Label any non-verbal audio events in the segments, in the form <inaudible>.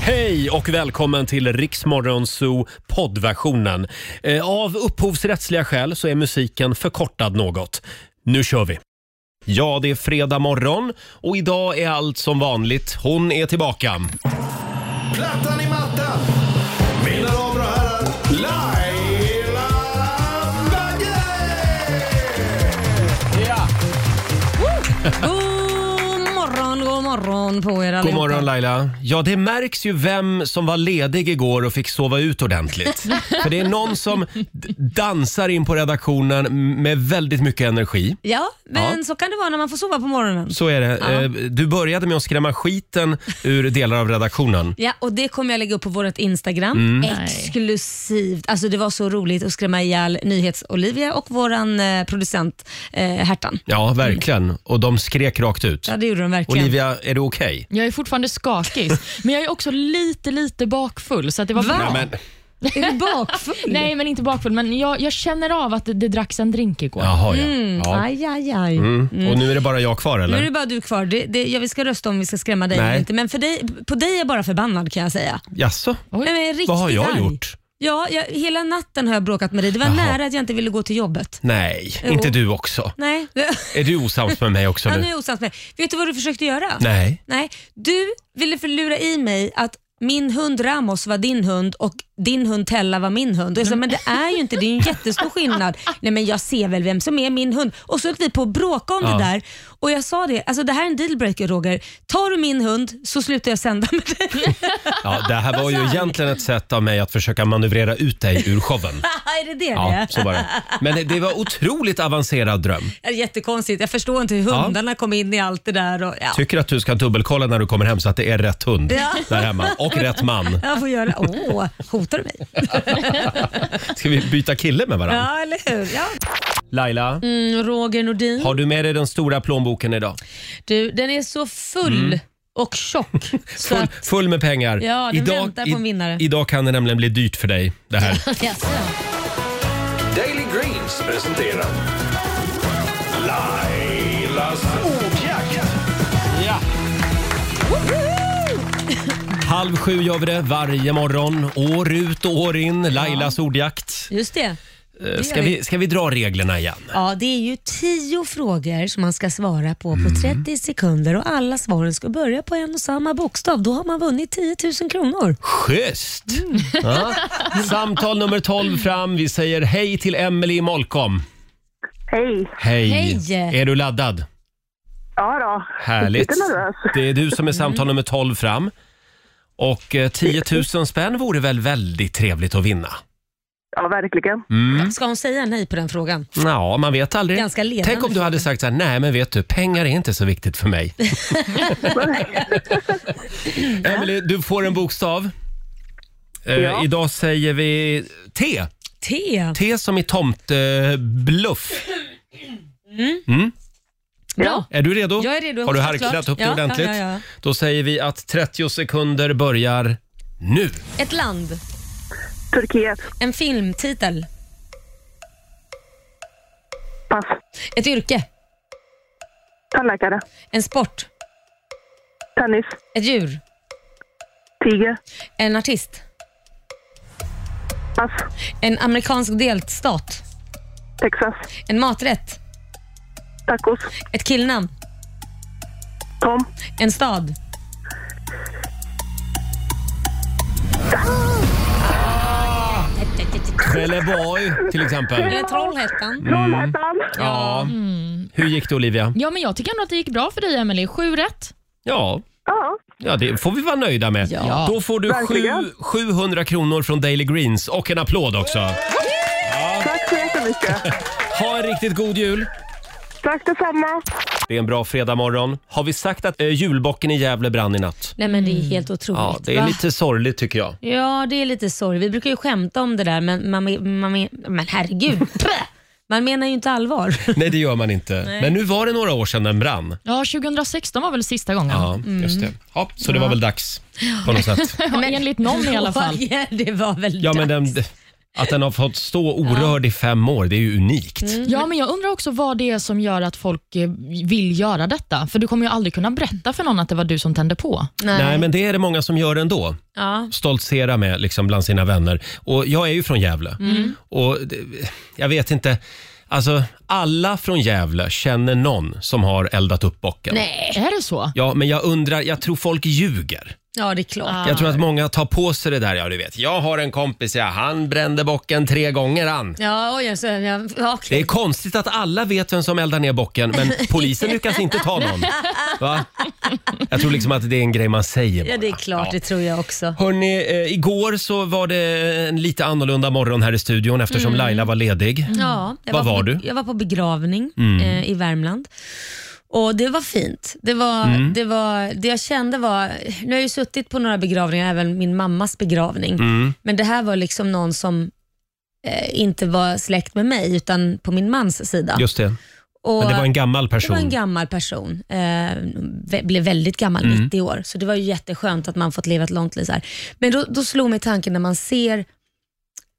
Hej och välkommen till Riksmorgon Zoo poddversionen. Eh, Av upphovsrättsliga skäl så är musiken förkortad något. Nu kör vi! Ja, det är fredag morgon och idag är allt som vanligt. Hon är tillbaka. Plattan i mattan! Mina damer och herrar, Laila Bagge! Ja! God morgon, god morgon på er allihopa. God morgon Laila. Ja, det märks ju vem som var ledig igår och fick sova ut ordentligt. För det är någon som d- dansar in på redaktionen med väldigt mycket energi. Ja, men Ja. så kan det vara när man får sova på morgonen. Så är det. Ja. Eh, Du började med att skrämma skiten ur delar av redaktionen. Ja, och det kommer jag lägga upp på vårt Instagram Mm. exklusivt. Alltså det var så roligt att skrämma ihjäl Nyhets-Olivia och våran eh, producent eh, Hertan. Ja, verkligen. Och de skrek rakt ut. Ja, det gjorde de verkligen. Olivia, är du okej? Jag är fortfarande skakig, men jag är också lite, lite bakfull. Så att det var Va? bra. Nej, men, <laughs> Är du bakfull? Nej, men inte bakfull, men jag, jag känner av att det, det dracks en drink igår. jaha, ja. Mm, ja. Aj, aj, aj. Mm. Och nu är det bara jag kvar, Nu är det eller? bara du kvar. Det, det, ja, vi ska rösta om vi ska skrämma dig Nej. eller inte, men för dig, på dig är jag bara förbannad kan jag säga. Jaså? Oj. Nej, men jag är Vad har riktigt jag arg. gjort? Ja, jag, hela natten har jag bråkat med dig. Det var Jaha. nära att jag inte ville gå till jobbet. Nej, Jo. inte du också. Nej, Är du osams med mig också han nu? är osams med Vet du vad du försökte göra? Nej. Nej, Du ville förlura i mig att min hund Ramos var din hund och din hund Tella var min hund. Och jag sa, men det är ju inte, det är ju en jättestor <laughs> skillnad. Nej men jag ser väl vem som är min hund. Och så höll vi på att bråka om Ja. det där. Och jag sa det, alltså det här är en dealbreaker Roger. Tar du min hund så slutar jag sända med dig. Ja, det här var ju Alltså. egentligen ett sätt av mig att försöka manövrera ut dig ur showen. <laughs> är det det Ja, det så var det. Men det- det var otroligt avancerad dröm. är? Jättekonstigt. Jag förstår inte hur Ja. hundarna kom in i allt det där. Och, ja. Tycker att du ska dubbelkolla när du kommer hem så att det är rätt hund <laughs> Ja. där hemma och rätt man. Jag får göra, åh, hotar du mig? Ska vi byta kille med varandra? Ja, eller hur? Ja. Laila, Mm, Roger Nordin. har du med dig den stora plånboken idag? Du, den är så full och tjock. så <laughs> Full, att, full med pengar. Ja, den väntar på en vinnare. Idag kan det nämligen bli dyrt för dig. Det här. <laughs> Jaså. Daily Greens presenterar Lailas ordjakt. Halv sju gör vi det varje morgon, år ut och år in. Lailas ordjakt. Just det. Eh, Ska gör vi. vi, ska vi dra reglerna igen? Ja, det är ju tio frågor som man ska svara på på 30 sekunder och alla svaren ska börja på en och samma bokstav. Då har man vunnit 10 000 kronor. Schysst! Mm. Ja. Samtal nummer 12 fram. Vi säger hej till Emelie i Molkom. Hej. Hej. Hej. Är du laddad? Ja då. Härligt. Lite nervös. Det är du som är samtal nummer 12 fram. Och eh, 10 000 spänn vore väl väldigt trevligt att vinna? Ja, verkligen. Ska hon säga nej på den frågan? Ja, man vet aldrig. Ganska ledande Tänk om du hade sagt så här, nej men vet du, pengar är inte så viktigt <laughs> för mig. Emily, du får en bokstav. Eh, Ja. Idag säger vi T. T. T som i tomtebluff. Mm. Mm. Bra. Är du redo? Jag är redo. Har du hoppas harklat klart. upp det Ja, ordentligt? Ja, ja, ja. Då säger vi att 30 sekunder börjar <laughs> nu. Ett land, Turkiet. en filmtitel, Pass. ett yrke, Tandläkare. en sport, Tennis. ett djur, Tiger. en artist, Pass. en amerikansk delstat, Texas. en maträtt, Tacos. ett killnamn, Tom. en stad. Trelleborg till exempel. Eller Trollhättan. Trollhättan. Ja. Hur gick det Olivia? Ja, men jag tycker ändå att det gick bra för dig, Emelie. Sju rätt. Ja, Ja. Ja, det får vi vara nöjda med. Ja. Då får du Verkligen. sju, 700 kronor från Daily Greens och en applåd också. Tack så jättemycket. Ha en riktigt god jul. Tack detsamma. Det är en bra fredagmorgon. Har vi sagt att eh, julbocken i Gävle brann i natt? Nej men det är helt otroligt. Ja, det är va? lite sorgligt tycker jag. ja, det är lite sorg. Vi brukar ju skämta om det där men, man, man, men <laughs> herregud. Pä! man menar ju inte allvar. Nej, det gör man inte. Men nu var det några år sedan den brann. Ja, 2016 var väl sista gången. Ja, just det. Ja, så det var väl dags på något sätt. <laughs> Ja, enligt någon i alla fall. Ja, det var väl Ja, men den, Att den har fått stå orörd i fem år, det är ju unikt. Ja, men jag undrar också vad det är som gör att folk eh, vill göra detta. För du kommer ju aldrig kunna berätta för någon att det var du som tände på. Nej. men det är det många som gör ändå. Ja. Stoltsera med liksom bland sina vänner. Och jag är ju från Gävle. Mm. Och det, jag vet inte, alltså alla från Gävle känner någon som har eldat upp bocken. Nej. Är det så? Ja, men jag undrar, jag tror folk ljuger. Ja, det är klart. Jag tror att många tar på sig det där, ja du vet. Jag har en kompis, ja, han brände bocken tre gånger han. Ja, oj, så, ja, okej. Det är konstigt att alla vet vem som eldar ner bocken, <laughs> men polisen lyckas inte ta någon. Va? Jag tror liksom att det är en grej man säger ja, det är klart. Det tror jag också. Hörni, eh, igår så var det en lite annorlunda morgon här i studion eftersom Laila var ledig. Mm. Ja, jag Vad på Mm. var be- du? Mm. Jag var på begravning eh, i Värmland. Och Det var fint. Det, var, Mm. det, var, det jag kände var, nu har jag ju suttit på några begravningar, även min mammas begravning, Mm. men det här var liksom någon som eh, inte var släkt med mig utan på min mans sida. Just det. och, Men det var en gammal det var person. en gammal person. Eh, vä- blev väldigt gammal, Mm. 90 år. Så det var ju jätteskönt att man fått leva ett långt liv så här. Men då, då slog mig tanken när man ser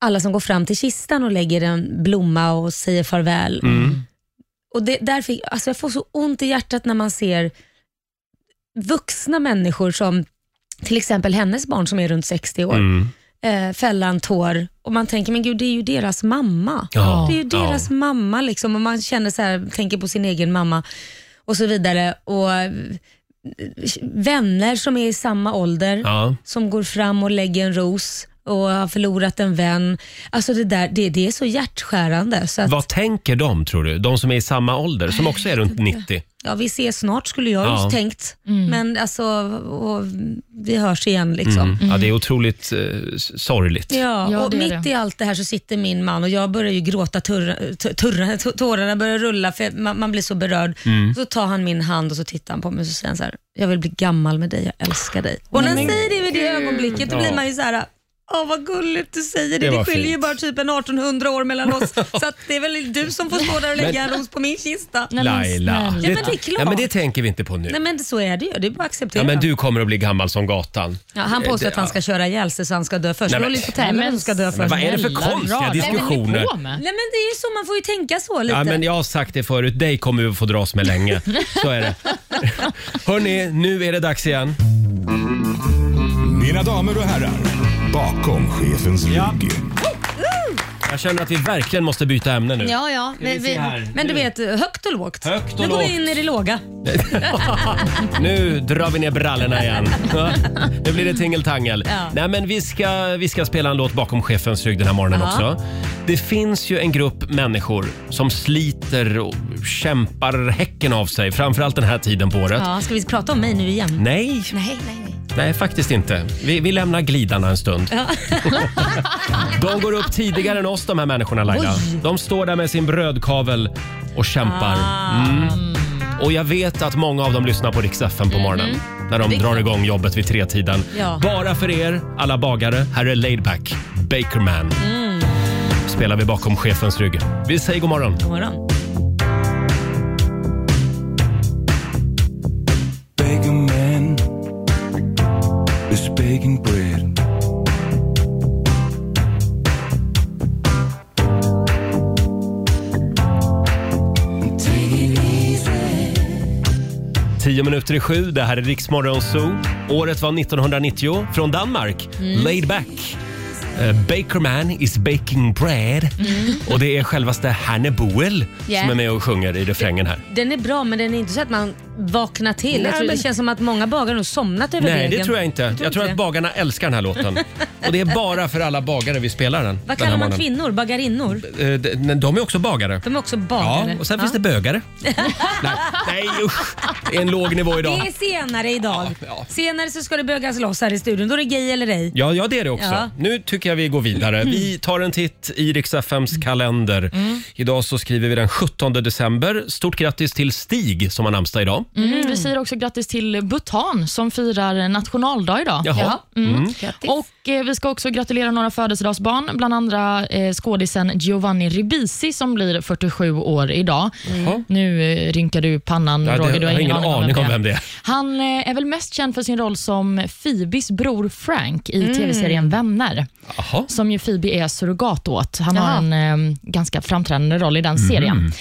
alla som går fram till kistan och lägger en blomma och säger farväl. Mm. Och det, där fick, alltså jag får så ont i hjärtat när man ser vuxna människor som till exempel hennes barn som är runt 60 år, Mm. eh, fälla en tår och man tänker, men gud det är ju deras mamma. Ja, Det är ju deras ja. mamma liksom och man känner så här, tänker på sin egen mamma och så vidare. Och eh, vänner som är i samma ålder Ja. som går fram och lägger en ros och har förlorat en vän. Alltså det där, det, det är så hjärtskärande. Så att, Vad tänker de tror du? De som är i samma ålder, som också är runt 90? ja, vi ses snart skulle jag Ja. just tänkt. Men alltså, och, vi hörs igen liksom. Mm. Ja, det är otroligt eh, sorgligt. Ja, Ja, och det är mitt det. i allt det här så sitter min man och jag börjar ju gråta, turra, tu- turra, t- tårarna börjar rulla för man, man blir så berörd. Så tar han min hand och så tittar han på mig och så säger han så här, jag vill bli gammal med dig, jag älskar dig. Och när han säger det vid det ögonblicket då Ja. blir man ju så här, Åh vad gulligt du säger det. Det Det, var skiljer ju fint. bara typ en 1800 år mellan oss. så att det är väl du som får stå där och lägga en ros på min kista. Nej, Nej, men Laila. snälla. Ja, men det är klart. ja, men det tänker vi inte på nu. men så är det ju. Det är bara att acceptera. Ja, men du kommer att bli gammal som gatan. ja, han påstår Eh, att han ska köra ihjäl sig så han ska dö först. Nej, Nej, men- men, på tävlan Nej, men men, ska dö Men först. vad är det för Snälla konstiga rara, vad håller ni diskussioner? på med? Nej men det är ju så, man får ju tänka så lite. Ja, men jag har sagt det förut, dig kommer vi att få dras med länge. Så <laughs> är det. Hörni, nu är det dags igen. Mina damer och herrar, bakom chefens rygg. Jag känner att vi verkligen måste byta ämne nu. Ja, ja. Men, vi se här. vi, men du vet, högt och lågt. Högt och nu går vi lågt. in i det låga. Nu drar vi ner <laughs> brallorna igen. Ja, Nu blir det tingeltangel. Nej, men vi ska, vi ska spela en låt bakom chefens rygg den här morgonen Ja. också. Det finns ju en grupp människor som sliter och kämpar häcken av sig, framförallt den här tiden på året. Ja, ska vi prata om mig nu igen? Nej, Nej, nej, nej. nej faktiskt inte. Vi, vi lämnar glidarna en stund. <laughs> De går upp tidigare än oss de här människorna Laila. Oj. De står där med sin brödkavel och kämpar. Ah. Mm. Och jag vet att många av dem lyssnar på Rix FM på morgonen Mm. när de drar igång jobbet vid tretiden. Ja. Bara för er, alla bagare. Här är Laidback, Bakerman. Mm. Spelar vi bakom chefens rygg. Vi säger god morgon. God morgon. Baker man is baking bread. Tio minuter i sju, det här är Riksmorgon Zoo. Året var 1990, från Danmark. Mm. Laid back. Eh, Bakerman is baking bread. Mm. Och det är självaste Hanne Boel Yeah. som är med och sjunger i refrängen här. Den är bra, men den är inte så att man vaknar till. Nej, jag tror men- Det känns som att många bagare nog somnat över Nej, degen. det tror jag inte. Jag tror inte att det. bagarna älskar den <laughs> här låten. Och det är bara för alla bagare vi spelar den. Vad den här kallar man morgonen. kvinnor? Bagarinnor? Eh, de- De är också bagare. De är också Ja, bagare. och sen finns <laughs> det bögare. Nej, nej usch. Det är en låg nivå idag. Det är senare idag. Ja, ja. Senare så ska det bögas loss här i studion. Då är det gay eller ej. Ja, ja, det är det också. Ja. Nu tycker jag vi går vidare. Vi tar en titt i Riks-FMs kalender. Idag så skriver vi den 17 december. Stort grattis till Stig som har namnsdag idag. Mm, vi säger också grattis till Bhutan som firar nationaldag idag. Jaha. Jaha. Mm. Grattis. Och eh, Vi ska också gratulera några födelsedagsbarn, bland andra eh, skådisen Giovanni Ribisi som blir 47 år idag. Jaha. Nu eh, rynkar du pannan, Ja, det- Roger. Du jag har ingen aning om vem det är. Han eh, är väl mest känd för sin roll som Phoebes bror Frank i tv-serien Vänner, Jaha. som ju Phoebe är surrogat åt. Han Jaha. har en eh, ganska framträdande roll i den Mm. serien.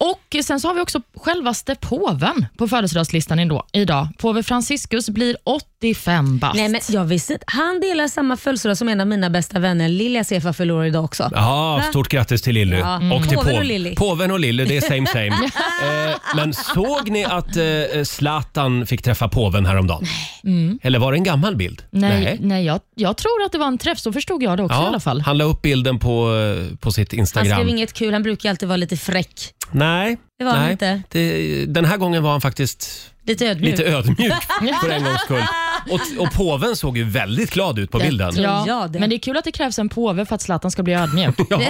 Och Sen så har vi också självaste påven på födelsedagslistan ändå- idag. Påve Franciscus blir 85 bast. Nej, men jag visste inte. Han delar samma födelsedag som en av mina bästa vänner, Lilja Sefa fyller år idag också. Ja, Va? stort grattis till Lilly. Ja. Mm. Och till Påven och påv- Lilly. Påven och Lilly, det är same same. eh, men såg ni att eh, Zlatan fick träffa påven häromdagen? Eller var det en gammal bild? Nej, nej. jag, jag tror att det var en träff. Så förstod jag det också Ja, i alla fall. Han la upp bilden på, eh, på sitt Han Instagram. skrev inget kul, han brukar alltid vara lite fräck. Nej, Det var han nej. inte. Det, den här gången var han faktiskt Lite ödmjuk. lite <laughs> ödmjuk för en gångs skull. Och, och påven såg ju väldigt glad ut på bilden. tror- Ja, det. Men det är kul att det krävs en påve för att Zlatan ska bli <laughs> ödmjuk. Ja.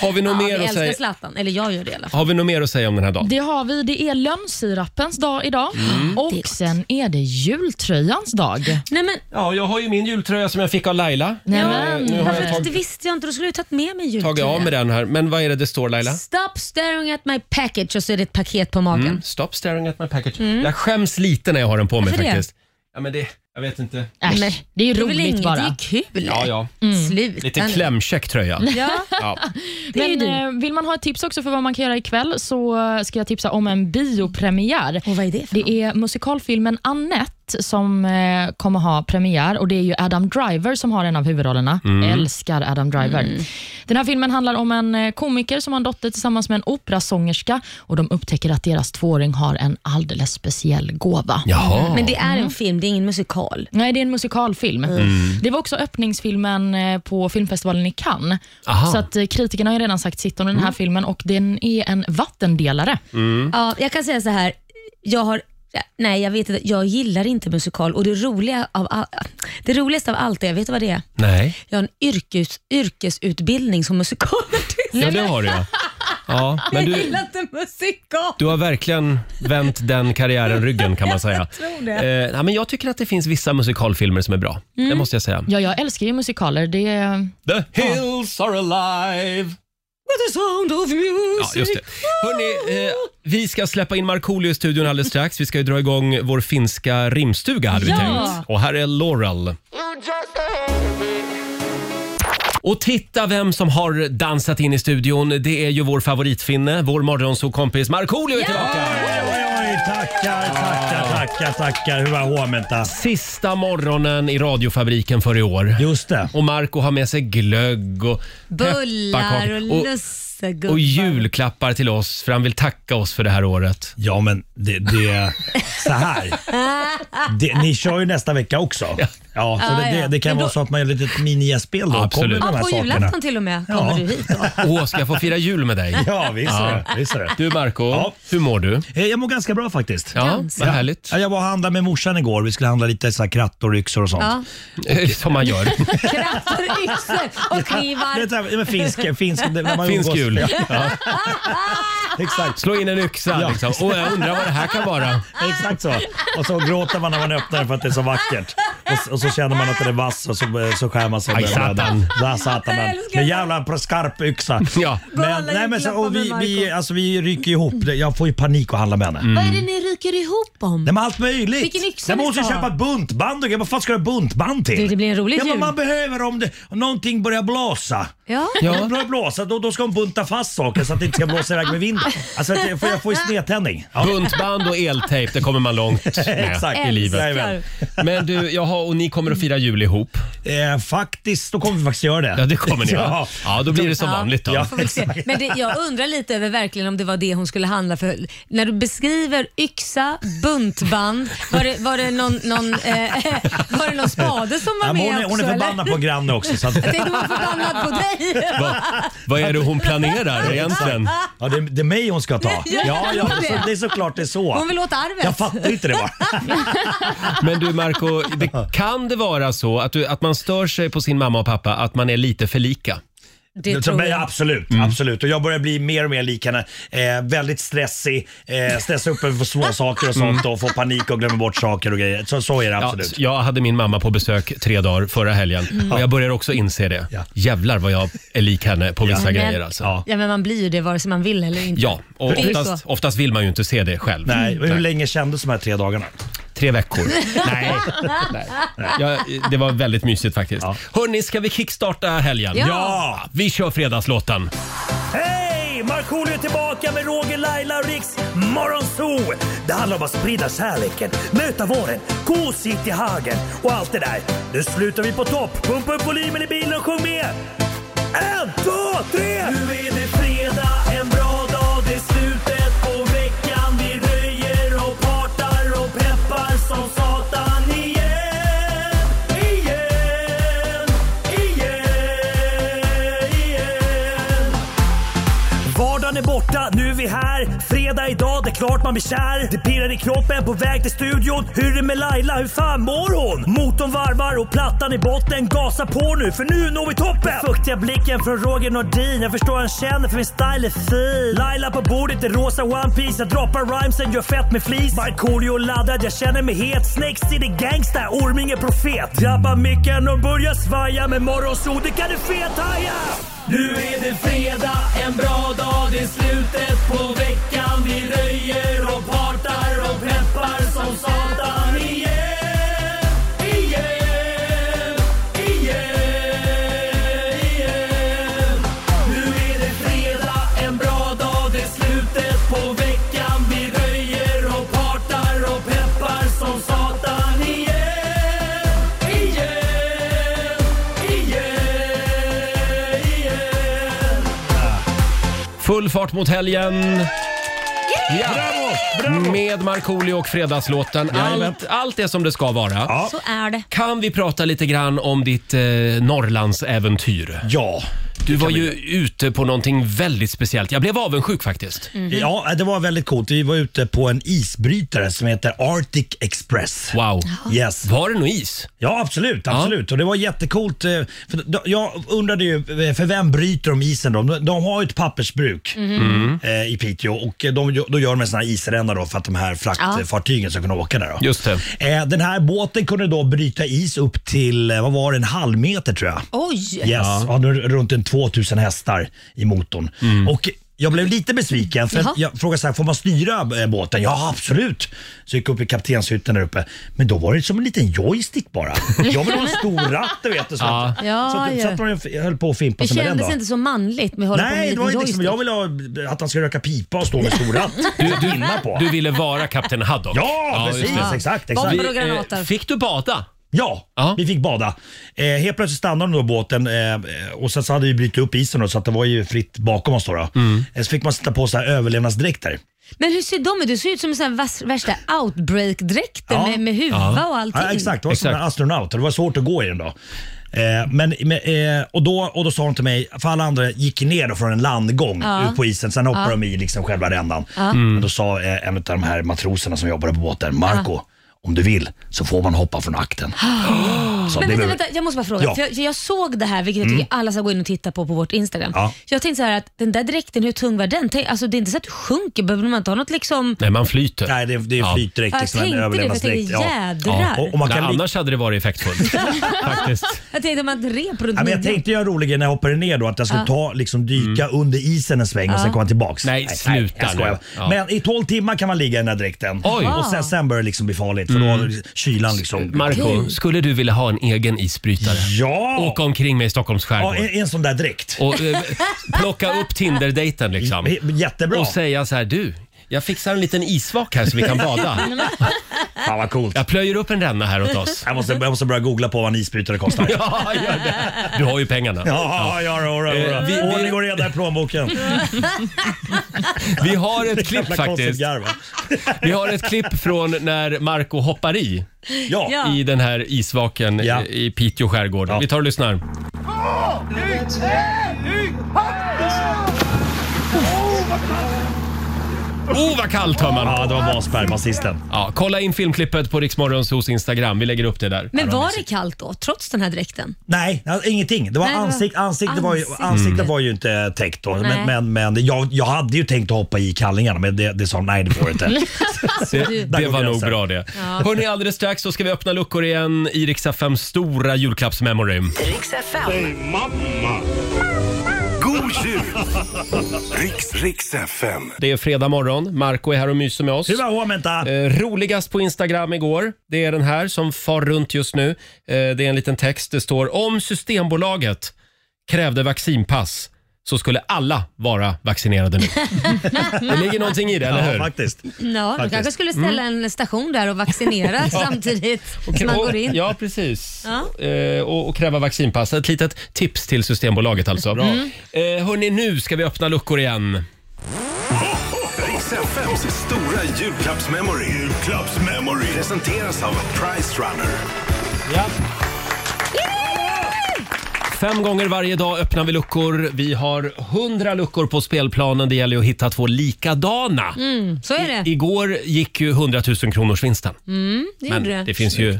Har, vi något ja, vi mer att älskar säga, Zlatan, eller jag gör det i alla fall. har vi något mer att säga om den här dagen? det har vi. Det är lönnsirapens dag idag Mm. Mm. Det är och gott. sen är det jultröjans dag. Nej, men, Ja, jag har ju min jultröja som jag fick av Laila. Nej, Eh, nu men, har varför, jag det tag- visste jag inte, då skulle jag ju tagit med mig tagit av med jultröjan. den här. Men vad är det det står Laila? Stop staring at my package och så är det ett paket på magen. Stop staring at my package. Jag skäms lite när jag har den på mig Mm. Varför det? faktiskt. Ja, men det, jag vet inte. Äsch, Men det är ju Det är väl roligt inget, det bara. är kul. Ja, ja. Sluta Mm. Lite nu. <laughs> klämkäck tröja. Ja, Ja. det är ju Men du. eh, vill man ha ett tips också för vad man kan göra ikväll så eh, ska jag tipsa om en biopremiär. Och vad är det för något? Det är musikalfilmen Annette som eh, kommer ha premiär och det är ju Adam Driver som har en av huvudrollerna. Älskar Adam Driver. Den här filmen handlar om en eh, komiker som har en dotter tillsammans med en operasångerska och de upptäcker att deras tvååring har en alldeles speciell gåva. Jaha. Men det är Mm. en film, det är ingen musikal. Nej, det är en musikalfilm. Det var också öppningsfilmen eh, på filmfestivalen i Cannes. Aha. Mm. Så att eh, kritikerna har ju redan sagt sitt om den här filmen och den är en vattendelare. Ja, jag kan säga så här, jag har Nej, jag vet inte. Jag gillar inte musikal och det, roliga av all, det roligaste av allt är, vet du vad det är? Nej. Jag har en yrkes, yrkesutbildning som musikalartist. Ja, det <laughs> har jag. Ja, men Jag du, gillar inte musikal. du har verkligen vänt den karriären ryggen <laughs> kan man säga. tror det. Eh, ja, men jag tycker att det finns vissa musikalfilmer som är bra. Det Mm. måste jag säga. Ja, jag älskar ju musikaler. Det <laughs> är... The hills are alive. The sound of Ja, music. just det. Hörrni, eh, vi ska släppa in Markoolio i studion alldeles strax. Vi ska ju dra igång vår finska rimstuga hade vi Ja. tänkt. Och här är Laurel. Och titta vem som har dansat in i studion. Det är ju vår favoritfinne, vår morgonsåkompis Markoolio är tillbaka. Oj, oj, oj, tackar, tackar, tackar, tackar. Hur var huomenta? Sista morgonen i radiofabriken för i år. Just det. Och Marco har med sig glögg och Bullar och pepparkakor lussegubbar. och julklappar till oss för han vill tacka oss för det här året. Ja, men det, det så här. Det, ni kör ju nästa vecka också. Ja, så Ja, det, ja. det, det kan Men då- vara så att man gör ett litet mini-gästspel då. Absolut. Kommer med Ja, de här på sakerna. julafton till och med kommer Ja. du hit. <laughs> Då. Åh, ska jag få fira jul med dig? Ja, visst är det. Visst är det. Du Marco, Ja. hur mår du? Eh, Jag mår ganska bra faktiskt. Ja, vad härligt. Ja, Jag var och handlade med morsan igår. Vi skulle handla lite så här kratt och ryxor och sånt. Ja. Eh, Som man <laughs> gör. Krattar, yxor och Det är knivar. så här, men finsk, finsk, det- när man Finsk umgås- jul. <laughs> Ja, Ja. exakt. Slå in en yxa Ja. liksom. Och jag undrar vad det här kan vara. <laughs> Exakt så. Och så gråter man när man öppnar den för att det är så vackert. Och, och så känner man att den är vass och så, så skär man sig. Aj, med- satan. Ja, Jag satan. Med, älskar med det. jävla <laughs> skarp yxa. Ja. Men, alla nej, men så, julklappar och vi, med vi, Marco. alltså, vi ryker ihop. Det- Jag får ju panik att handla med henne. Vad är det ni ryker ihop om? Nej, men allt möjligt. Vilken yxa ni Nej, men hon ska ska ha. köpa buntband. och grejer. Vad fan ska du ha buntband till? Du, det blir en rolig ja, men jul. Man behöver om det, om någonting börjar blåsa. Ja. Om det börjar blåsa då, då ska hon bunta fast saker så att det inte ska blåsa iväg med vinden. Alltså, det, för jag får ju snedtändning. <laughs> Ja, Buntband och eltejp, det kommer man <laughs> långt med Exakt. i livet. Jajamän. Men du, jaha, och ni kommer att fira jul ihop. Eh, faktiskt, då kommer vi faktiskt göra det. Ja, det kommer <laughs> ni ja. ja. Ja, då blir det som vanligt då. Ja. Får väl se. Men det, jag undrar lite över verkligen om det var det hon skulle handla för. När du beskriver yxa, buntband, var det, var det, någon, någon, eh, <laughs> var det någon spade som var Ja, men med hon, är, också? hon är förbannad på grannen också. Så att, eller? <laughs> Jag tänkte hon var förbannad på dig. Va, vad är det hon planerar egentligen? ja, det, det är mig hon ska ta. Ja, Ja, ja, det. så, det är såklart det är så. Hon vill åt arvet. Jag fattar inte det bara. Men du Marco, det, kan det vara så att, du, att man stör sig på sin mamma och pappa att man är lite för lika? <laughs> Det Det tror men, jag. Absolut, Mm. absolut. Och jag börjar bli mer och mer lik henne. Eh, väldigt stressig, eh, stressar upp över små saker och sånt och får panik och glömmer bort saker och grejer. Så, så är det Mm. Ja, absolut. jag hade min mamma på besök tre dagar förra helgen och jag börjar också inse det. Ja. Jävlar vad jag är lik henne på vissa Men- grejer alltså. Ja, Ja, men man blir ju det vare sig man vill eller inte. och Det är ju oftast, så. oftast vill man ju inte se det själv. Nej, hur Mm. länge kändes de här tre dagarna? Tre veckor. Nej. Nej. Ja, det var väldigt mysigt faktiskt. Ja. Hörni, ska vi kickstarta helgen? Ja. Ja! Vi kör fredagslåten. Hej! Markoolio är tillbaka med Roger, Laila och Riks Morgonzoo! Det handlar om att sprida kärleken, möta våren, gosigt i hagen och allt det där. Nu slutar vi på topp! Pumpa upp volymen i bilen och sjung med! En, två, tre! Nu är det fredag, en bra dag, det är slutet på veckan. Vi röjer och partar och peppar som satan igen, igen, igen, igen. Vardagen är borta, nu är vi här. Fredag idag, det är klart man blir kär. Det pirrar i kroppen på väg till studion. Hur är det med Laila, hur fan mår hon? Motorn varvar och plattan i botten. Gasa på nu, för nu når vi toppen! Den fuktiga blicken från Roger Nordin. Jag förstår han känner, för min style är fin. Laila på bordet i rosa One Piece Jag droppar rhymesen, gör fett med flis. Markoolio laddad, jag känner mig het. Snakes city gangsta, Orminge profet. Drabbar micken och börjar svaja. Med morgonsol, det kan du fethaja! Nu är det fredag, en bra dag, det är slutet på veckan. Vi röjer och partar och peppar som satan igen, igen, igen, igen. Nu är det fredag, en bra dag, det är slutet på veckan. Vi röjer och partar och peppar som satan igen, igen, igen, igen. Full fart mot helgen. Ja. Med Markoolio och Fredagslåten. Allt, allt är som det ska vara. Så är det. Kan vi prata lite grann om ditt eh, Norrlandsäventyr? Ja. Du var ju ute på någonting väldigt speciellt. Jag blev avundsjuk faktiskt. ja, det var väldigt coolt. Vi var ute på en isbrytare som heter Arctic Express. Wow. Yes. Var det nog is? Ja, absolut. absolut. Och det var jättecoolt. eh, För d- jag undrade ju, eh, för vem bryter de isen då? De- De har ju ett pappersbruk Mm. eh, i Piteå och eh, de, då gör de en sån här isränna då för att de här fraktfartygen ska kunna åka där. Då. Just det. Eh, Den här båten kunde då bryta is upp till, eh, vad var det, en halv meter tror jag. Oj! Yes, ja. nu runt en 2000 hästar i motorn. Mm. Och jag blev lite besviken för Jaha. jag frågade så här, får man styra eh, båten? Ja, absolut. Så gick jag upp i kaptenshytten där uppe. Men då var det som en liten <laughs> joystick bara. Jag vill ha en stor ratt, du vet. och Så, Ja. att, Ja, så, att, ja. så att man höll på att fimpa Det sig med den kändes då. inte så manligt med att hålla Nej, det på var med ju en liksom, liten jag joystick. vill ha att han ska röka pipa och stå med stor ratt. <laughs> Du, du, Vinna på. du ville vara kapten Haddock. Ja, just precis. det. Exakt, Bomber exakt. och Eh, granater. Fick du bada? Ja, Ja. vi fick bada. Eh, helt plötsligt stannade då båten eh, och sen så hade vi brutit upp isen då, så att det var ju fritt bakom oss. Då, då. Mm. Eh, så fick man sätta på så här överlevnadsdräkter. Men hur ser de ut? Du ser ut som en sån här vass- värsta outbreak-dräkten Ja. med, med huva och allting. Ja, exakt, det var som Exakt. en astronaut. Det var svårt att gå i den då. Eh, men, men, eh, och, då, och då sa de till mig, för alla andra gick ner då från en landgång Ja. ut på isen, sen hoppade de i liksom själva rändan. Mm. Men då sa eh, en av de här matroserna som jobbade på båten, Marco, om du vill så får man hoppa från <gasps> akten. Så Men vänta, det blev- vänta, jag måste bara fråga. Ja. Mm. För jag, jag såg det här, vilket jag tycker alla ska gå in och titta på på vårt Instagram. Ja. Så jag tänkte så här att den där dräkten, hur tung var den? Tänk, alltså, det är inte så att du sjunker, behöver man inte ha något liksom... Nej, man flyter. Nej, det är, det är Ja. flytdräkt. Ja, Liksom, jag en tänkte det, för jag överlevnadsdräkt. tänkte jädrar. Och, och man Nej, kan li- annars hade det varit <laughs> effektfullt. Faktiskt. Jag tänkte om man hade ett rep runt Ja, men jag midjan. tänkte göra en rolig grej när jag hoppade ner då att jag skulle ta, liksom, dyka under isen en sväng och sen komma tillbaks. Mm. Nej, sluta jag skojar. nu. Ja. Men i 12 timmar kan man ligga i den här dräkten. Oj. Mm. Och sen, sen börjar det liksom bli farligt för då har kylan liksom... Marco, skulle du vilja ha en egen isbrytare? ja! Åka omkring med i Stockholms ja skärgård. en, en sån där dräkt. Och eh, plocka upp Tinder-dejten liksom. J- Jättebra. Och säga så här, du, jag fixar en liten isvak här så vi kan <laughs> bada. Fan vad coolt. Jag plöjer upp en ränna här åt oss. Jag måste, jag måste börja googla på vad en isbrytare kostar. <laughs> Ja, <laughs> Ja, gör det. Du har ju pengarna. ja, ja, ja, Eh, ja. vi- vi- Ordning och reda i plånboken. Vi har ett Jävla klipp konstigt faktiskt. garv, va? Vi har ett klipp från när Marco hoppar i, Ja. Ja. i den här isvaken Ja. i, i Piteå skärgård. Ja. Vi tar och lyssnar. Oh, vad kallt hör man! Ja, det var baspermasisten. Ja, kolla in filmklippet på Riksmorgonsos Instagram. Vi lägger upp det där. Men var det kallt då, trots den här dräkten? Nej, alltså, ingenting. Det var Nej, det var- ansikt, ansikte, var ju, Ansikte. ansiktet var ju inte eh, täckt då. Nej. Men, men, men jag, jag hade ju tänkt att hoppa i kallingarna men det, det sa de, nej det får <laughs> du inte. Det, Där det går var nog gränsen. bra det. Hörni, alldeles strax så ska vi öppna luckor igen i Rix FMs stora julklappsmemory. Riks FM. God jul! <laughs> Riks, Riks FM. Det är fredag morgon. Marco är här och myser med oss. Hur var Huomenta? Eh, roligast på Instagram igår, det är den här som far runt just nu. Eh, det är en liten text. Det står om Systembolaget krävde vaccinpass så skulle alla vara vaccinerade nu. det ligger någonting i det, eller Ja, hur? faktiskt. Ja, de Faktiskt. Mm. kanske skulle ställa en station där och <laughs> vaccinera samtidigt som man går in. Och, ja, precis. Ja. Eh, och, och kräva vaccinpass. Ett litet tips till Systembolaget alltså. Mm. Eh, hörni, nu ska vi öppna luckor igen. Riks FMs stora julklappsmemory. Julklappsmemory. Presenteras av Price Runner. Fem gånger varje dag öppnar vi luckor. Vi har hundra luckor på spelplanen. Det gäller ju att hitta två likadana. Så är det. Igår gick ju 100 000 kronors vinsten. Det Men gjorde det det. finns ju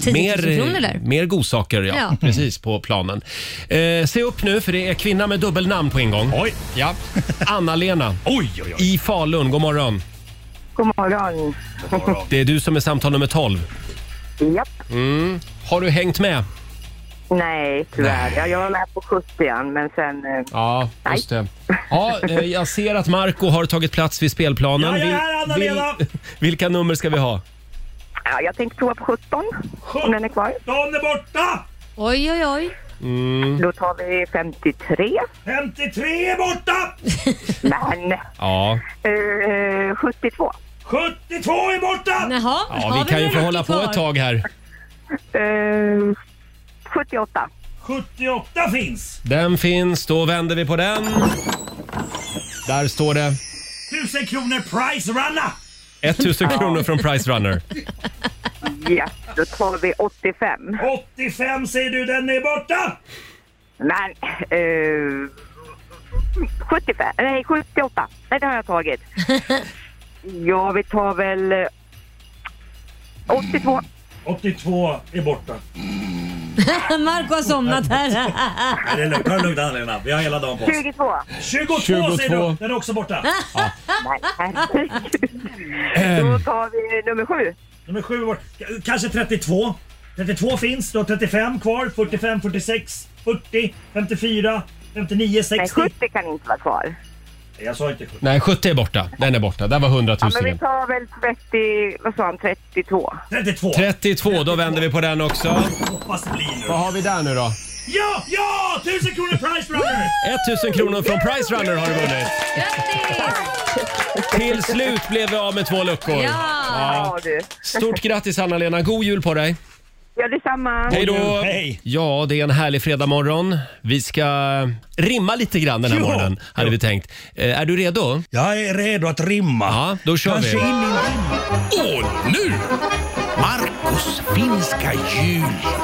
10 000 Mm. kronor mer, där. mer godsaker ja, Ja. <laughs> Precis, på planen. Eh, se upp nu för det är kvinna med dubbelnamn på ingång. Oj. Ja. Anna-Lena Oj, oj, oj. i Falun, god morgon. God morgon. Det är du som är samtal nummer 12. Japp. Har du hängt med? Nej, tyvärr. Ja, jag var med på 70 men sen... eh, Ja, just det. Ja, eh, jag ser att Marco har tagit plats vid spelplanen. Ja, jag är Vil- här, Anna-Lena. vil- <laughs> vilka nummer ska vi ha? Ja, jag tänkte prova på 17, om den är kvar. Dagen är borta! Oj, oj, oj. Då tar vi 53. 53 är borta! Men Ja, eh, 72. 72 är borta! Jaha, har ja vi kan ju några få hålla på kvar? ett tag här. Eh, 78. 78 finns! Den finns, då vänder vi på den. Där står det 1000 kronor price runna! 1000 kronor från Price Runner. Ja, då tar vi 85. 85 säger du, den är borta! Men... Eh, 75. Nej, 78. Nej, det har <laughs> jag tagit. Ja, vi tar väl... eh, 82. 82 är borta. <laughs> Marco har somnat <laughs> här. Nej, det är lugnt. Ta det lugnt Anna-Lena, vi har hela dagen på oss. 22. 22, 22. säger du, den är också borta. Nej, herregud. Ehm. Då tar vi nummer sju. Nummer 7 är borta. K- Kanske 32. 32 finns, du har 35 kvar, 45, 46, 40, 54, 59, Nej, 60. 70 kan inte vara kvar. Jag sa inte 70. Nej, 70 är borta. Den är borta. Där var 100 Ja, 000 men vi igen. tar väl 30... Vad sa han? 32. 32. 32, då vänder vi på den också. Hoppas det blir nu. Vad har vi där nu då? Ja, ja! 1000 kronor price runner! 1000 kronor från Price Runner har du vunnit. Grattis! Till slut blev vi av med två luckor. Ja. Ja, du. Stort grattis Anna-Lena, god jul på dig. Ja, detsamma. Hej då! Hej. Ja, det är en härlig fredagmorgon. Vi ska rimma lite grann den här Ja. morgonen, hade vi tänkt. Eh, är du redo? Jag är redo att rimma. Ja, då kör Kanske vi. in i en rim. Och nu, Marcos finska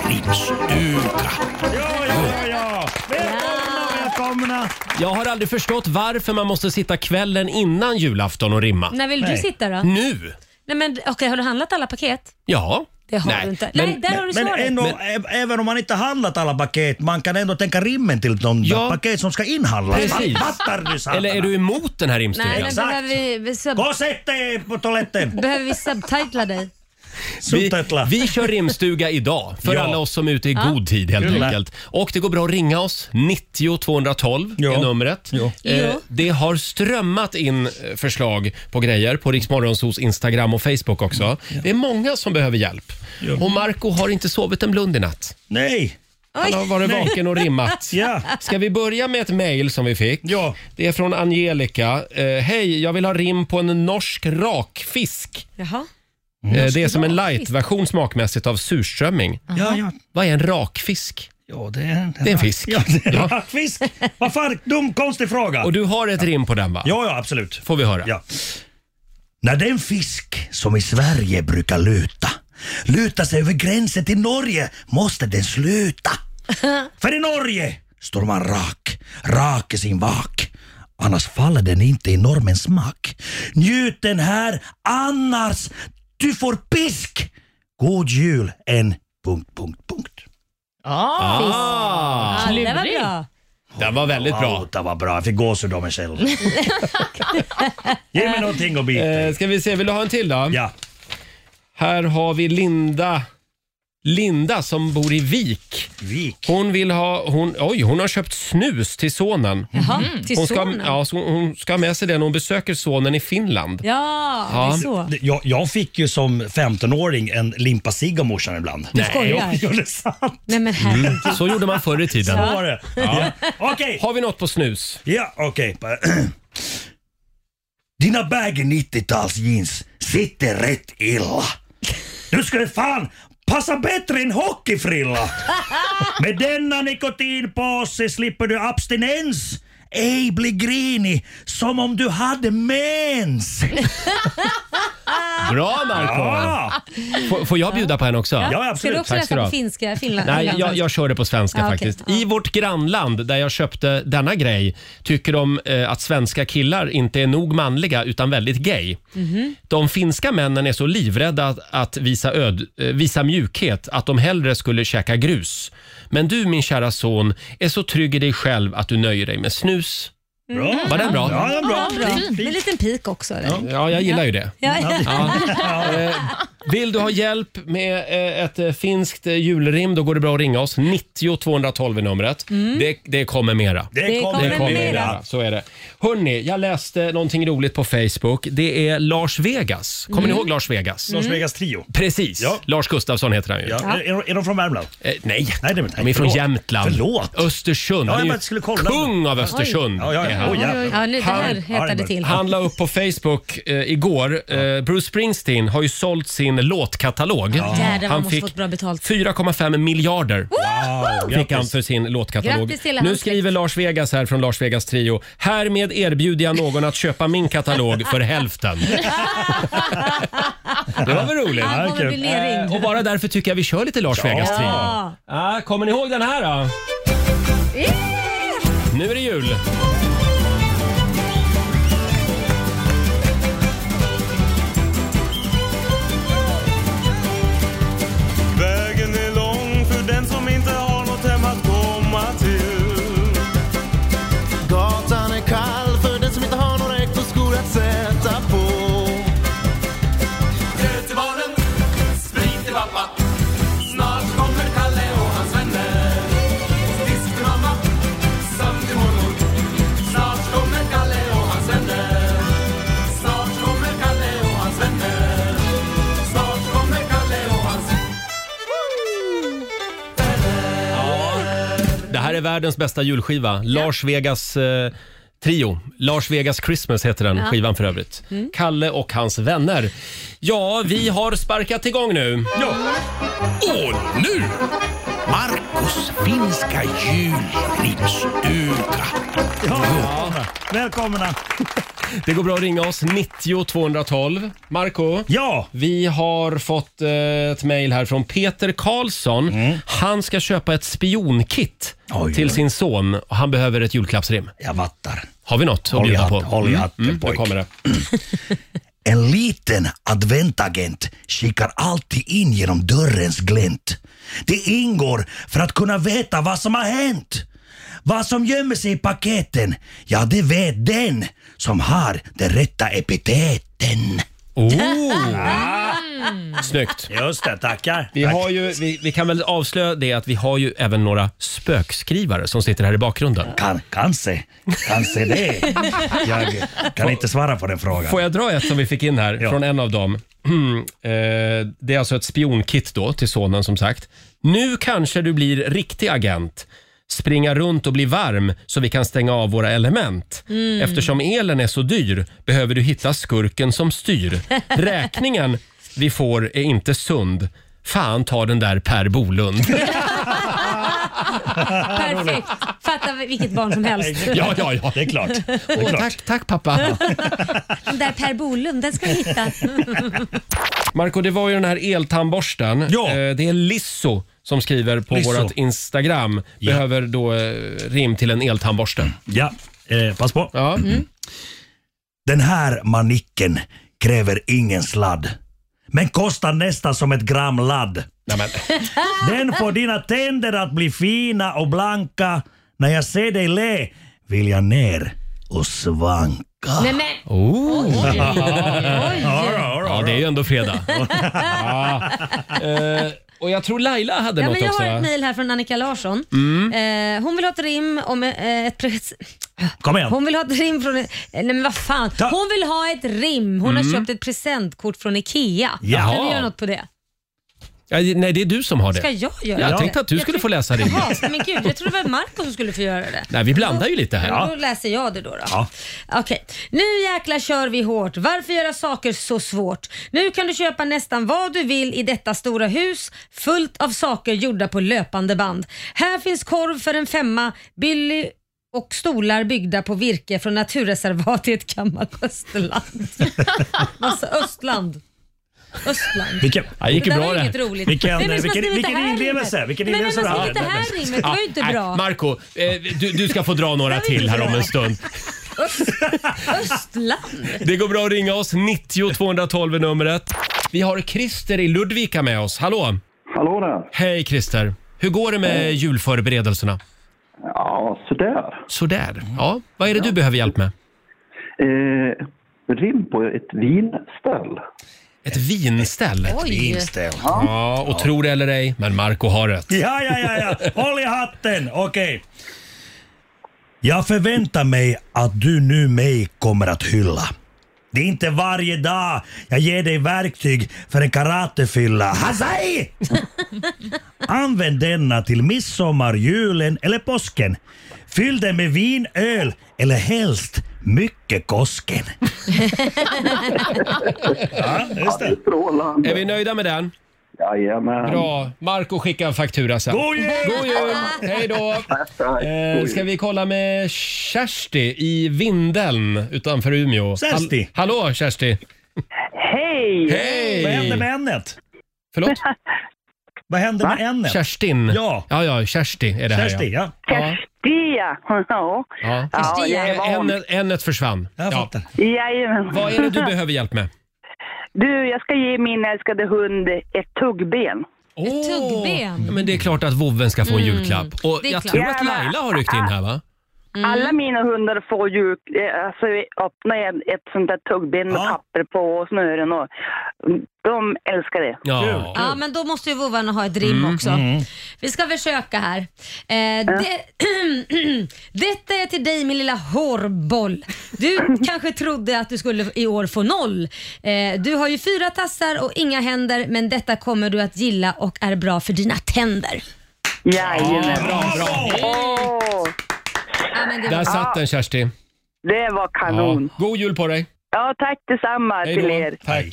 julrimstuga. Ja, ja, ja. Välkomna, välkomna. Jag har aldrig förstått varför man måste sitta kvällen innan julafton och rimma. När vill du Nej. sitta då? Nu? Nej, men, okej, har du handlat alla paket? Ja. Det har Nej, du inte. men- Nej, där har du Men svaret. ändå, ä- även om man inte handlat alla paket, man kan ändå tänka rimmen till de Ja. paket som ska inhandlas. Precis. Fattar du Sanna? Eller är du emot den här rimstugan? Nej, men Exakt. behöver vi, vi sub, Gå och sätt dig på toaletten. behöver vi subtitla dig? Vi, Subtitla. vi kör rimstuga idag för <laughs> Ja. alla oss som är ute i god tid helt Kul. enkelt. Och det går bra att ringa oss. 90 212 Ja. är numret. Ja. Eh, Ja. det har strömmat in eh, förslag på grejer på Riksmorgonsos Instagram och Facebook också. Mm. Det är många som behöver hjälp. Och Marco har inte sovit en blund i natt. Nej. Han har varit vaken och rimmat. <laughs> Ja. Ska vi börja med ett mejl som vi fick? Ja. Det är från Angelica. Eh, Hej, jag vill ha rim på en norsk rakfisk. Jaha. Eh, Det är som en light-version smakmässigt av surströmming. Ja, ja. Vad är en rakfisk? Ja, det är en, Det är en fisk. Ja, det är en <laughs> Ja. <laughs> rackfisk. Vad fan, dum konstig fråga. Och du har ett rim på den va? Ja, ja, absolut. Får vi höra. Ja. När den fisk som i Sverige brukar luta lutar sig över gränsen till Norge måste <laughs> den sluta. För i Norge står man rak, rak i sin vak. annars faller den inte i normens smak. Njut den här, annars du får pisk! God jul, en... Punkt, punkt, punkt. Ja, Ah, Ja, det var Klurig. bra. den var väldigt bra. Wow, det var bra. Jag fick gåshud av mig själv. Ge mig någonting att bita Eh, i. ska vi se, vill du ha en till då? Ja. Här har vi Linda. Linda som bor i Vik. Vik. Hon vill ha, hon, oj, hon har köpt snus till sonen. Jaha, till Mm. Hon ska, sonen. ja, så hon ska ha med sig den när hon besöker sonen i Finland. Ja, det är så. Det- Jag, jag fick ju som 15-åring en limpa cigg av morsan ibland. Du skojar? Ja, det är sant. Nej men herregud. Mm. Så gjorde man förr i tiden. Så var det. Ja. Okej. Har vi något på snus? Ja, okej. <clears throat> Dina baggy 90-tals jeans sitter rätt illa. Du skulle fan passa bättre <laughs> än hockeyfrilla. Med denna nikotinpåse slipper du abstinens. Ej bli grinig som om du hade mens. Bra Marco! Ja, Får, får jag bjuda på en också? ja Ska du absolut. också Tack läsa ska du på ha. finska, Finland? Nej, jag, Finland. jag kör det på svenska Ja, okej. faktiskt. Ja. I vårt grannland där jag köpte denna grej tycker de eh, att svenska killar inte är nog manliga utan väldigt gay. Mhm. De finska männen är så livrädda att, att visa, öd, eh, visa mjukhet att de hellre skulle käka grus. Men du min kära son är så trygg i dig själv att du nöjer dig med snus. Bra. Var den bra? Ja, ja, bra. Ja, bra. Fint, Med en fint. liten pik också. Eller? Ja. Ja, jag gillar ju det. Ja, Eh, Vill du ha hjälp med eh, ett eh, finskt eh, julrim då går det bra att ringa oss. 90 212 är numret. Mm. Det, det kommer mera. Det kommer mera. Så är det. Hörni, jag läste någonting roligt på Facebook. Det är Lars Vegas. Kommer ni ihåg Lars Vegas? Lars Mm. Vegas trio. Precis. Mm. Ja. Lars Gustafsson heter han ju. Ja. Är, är de från Värmland? Eh, nej. Nej, det är- de är från förlåt. Jämtland. Förlåt. Östersund. Ja, Han är jag ju bara skulle kolla. Kung av Östersund. Ja, ja, är ja. han. Oj, jävlar. ja nu, det här hettade Harvard. till. Han la upp på Facebook eh, igår. Eh, Bruce Springsteen har ju sålt sin låtkatalog. Jädrar, man Han måste fick fått bra betalt. 4,5 miljarder Wow, fick han grattis. för sin låtkatalog. Grattis till Nu hans skriver Lars Vegas här från Lars Vegas Trio. Härmed erbjuder jag någon att köpa min katalog för hälften. <laughs> Det var väl roligt? Han kommer kul. bli nerringd. Och bara därför tycker jag vi kör lite Lars Vegas Trio. Ja. Ah, kommer ni ihåg den här då? Nu är det jul. Vägen är lång för den som inte har något hem att komma till. Gatan är kall för den som inte har några äkta skor att sätta på. Gröt i baren, sprit i pappa. Snart kommer Kalle och hans vänner. Disk till mamma, sömn till mormor. Snart kommer Kalle och hans vänner. Snart kommer Kalle och hans vänner. Snart kommer Kalle och hans vänner. Det här är världens bästa julskiva. Lars Vegas eh, Trio. Lars Vegas Christmas heter den skivan för övrigt. Mm. Kalle och hans vänner. Ja, vi har sparkat igång nu. Och nu! Marcos finska julrimsuga. Ja. Välkomna. Det går bra att ringa oss. 90 212. Marco, Ja, vi har fått eh, ett mejl här från Peter Karlsson. Han ska köpa ett spionkit Mm. Oj, till oj. sin son och han behöver ett julklappsrim. jag vattar. Har vi något att Håll i bjuda på? hatten, håll i hatten, nu pojk. kommer det. En liten adventagent kikar alltid in genom dörrens glänt. Det ingår för att kunna veta vad som har hänt. Vad som gömmer sig i paketen, ja det vet den som har den rätta epiteten. Oh. Snyggt. Just det, tackar. Vi, har ju, vi, vi kan väl avslöja det att vi har ju även några spökskrivare som sitter här i bakgrunden. Kan, kanske, kanske det. Jag kan inte svara på den frågan. Får jag dra ett som vi fick in här <laughs> Ja. från en av dem? Mm, eh, det är alltså ett spionkit då till sonen som sagt. Nu kanske du blir riktig agent. Springa runt och bli varm så vi kan stänga av våra element. Eftersom elen är så dyr behöver du hitta skurken som styr. <laughs> Räkningen vi får är inte sund. Fan ta den där Per <laughs> Bolund. Ah, Perfekt. Fatta vilket barn som helst. ja, ja, ja. Det är <laughs> klart. Det är Åh, klart. tack, tack pappa. Den där Per Bolund, den ska vi <laughs> hitta. Marco, det var ju den här eltandborsten. Ja. Eh, Det är Lisso som skriver på Lisso. vårt Instagram. Behöver då eh, rim till en eltandborste. Ja. Eh, pass på. Ja. Mm. Mm. Den här manicken kräver ingen sladd, men kostar nästan som ett gram ladd. Nej, men. Den <laughs> får dina tänder att bli fina och blanka. När jag ser dig le vill jag ner och svanka. Nej, men, Oh. All right, all right, Ja, det är all right. ju ändå fredag. ja. eh, och jag tror Laila hade ja, något men jag också. Mm. har ett va? mejl här från Annika Larsson. Eh, hon vill ha ett rim om eh, ett... pres- Kom igen. Hon vill ha ett rim från... eh, Nej men vad fan. Ta- Hon vill ha ett rim. Hon Mm. har köpt ett presentkort från IKEA. Jaha. Kan vi göra något på det? Ja, nej, det är du som har Ska det. jag göra det? Jag tänkte att du skulle få läsa det. Jaha, men gud, jag trodde det var Marco som skulle få göra det. Nej, vi blandar ju lite Ja. här. Då läser jag det då. då. Ja. Okej. Nu jäkla kör vi hårt. Varför göra saker så svårt? Nu kan du köpa nästan vad du vill i detta stora hus fullt av saker gjorda på löpande band. Här finns korv för en femma, Billy och stolar byggda på virke från naturreservat i ett gammalt östland. Massa östland. Östland. Vilken, Det gick ju det där bra var ju det. här. inget roligt. Vilken- Vem är det som har vilken- skrivit vilken det här inlevelse, rimmet? vilken Nej, men inlevelse vem du har hade. skrivit det här rimmet? Det var ju inte Ah, nej, bra. Marco, eh, du, du ska få dra några till här om en stund. Östland. Det går bra att ringa oss. 90 212 är numret. Vi har Christer i Ludvika med oss. Hallå! Hallå där. Hej Christer! Hur går det med julförberedelserna? Ja, sådär. Sådär. Ja, vad är det du behöver hjälp med? Eh, rim på ett vinställ. Ett vinställ. Oj. Inställ. Ja, och tro det eller ej, men Marco har rätt. Ja, ja, ja, ja. Håll i hatten. Okej. Jag förväntar mig att du nu mig kommer att hylla. Det är inte varje dag jag ger dig verktyg för en karatefylla. Hazai! Använd denna till midsommar, julen eller påsken. Fyll den med vin, öl eller helst mycket Kosken. ja, just det. Är Strålande. vi nöjda med den? Jajamän. Bra. Marco skickar en faktura sen. God jul! God jul! Hej <laughs> då! Tack. Eh, ska vi kolla med Kersti i Vindeln utanför Umeå. Kersti. hallå Kersti! Hej! Hej! Vad hände med ännet? Förlåt? Vad hände med ännet? Kerstin? Ja. ja, ja Kersti är det här Kersti, ja. ja. <laughs> Stia! Ja, ja. ja. ja jag är van. Ännet, ännet försvann. Jag Ja. fattar. Jajamän. Vad är det du behöver hjälp med? Du, jag ska ge min älskade hund ett tuggben. Åh! tuggben. Mm. Ja, men det är klart att vovven ska få en julklapp. Och det är jag klart. tror att Laila har ryckt in här va? Mm. Alla mina hundar får ju, eh, alltså öppnar jag ett sånt där tuggben med Ja. papper på och snören och mm, de älskar det. Ja. Ja, men då måste ju vovvarna ha ett rim Mm, också. Vi ska försöka här. Eh, det, <clears throat> detta är till dig min lilla hårboll. Du kanske trodde att du skulle i år få noll. Eh, du har ju fyra tassar och inga händer, men detta kommer du att gilla och är bra för dina tänder. Jajamän. Bra, bra. Åh, Ja, men det var Där satt den Kersti. det var Ja. kanon. God jul på dig! Ja, tack detsamma Hej till då. er. Tack!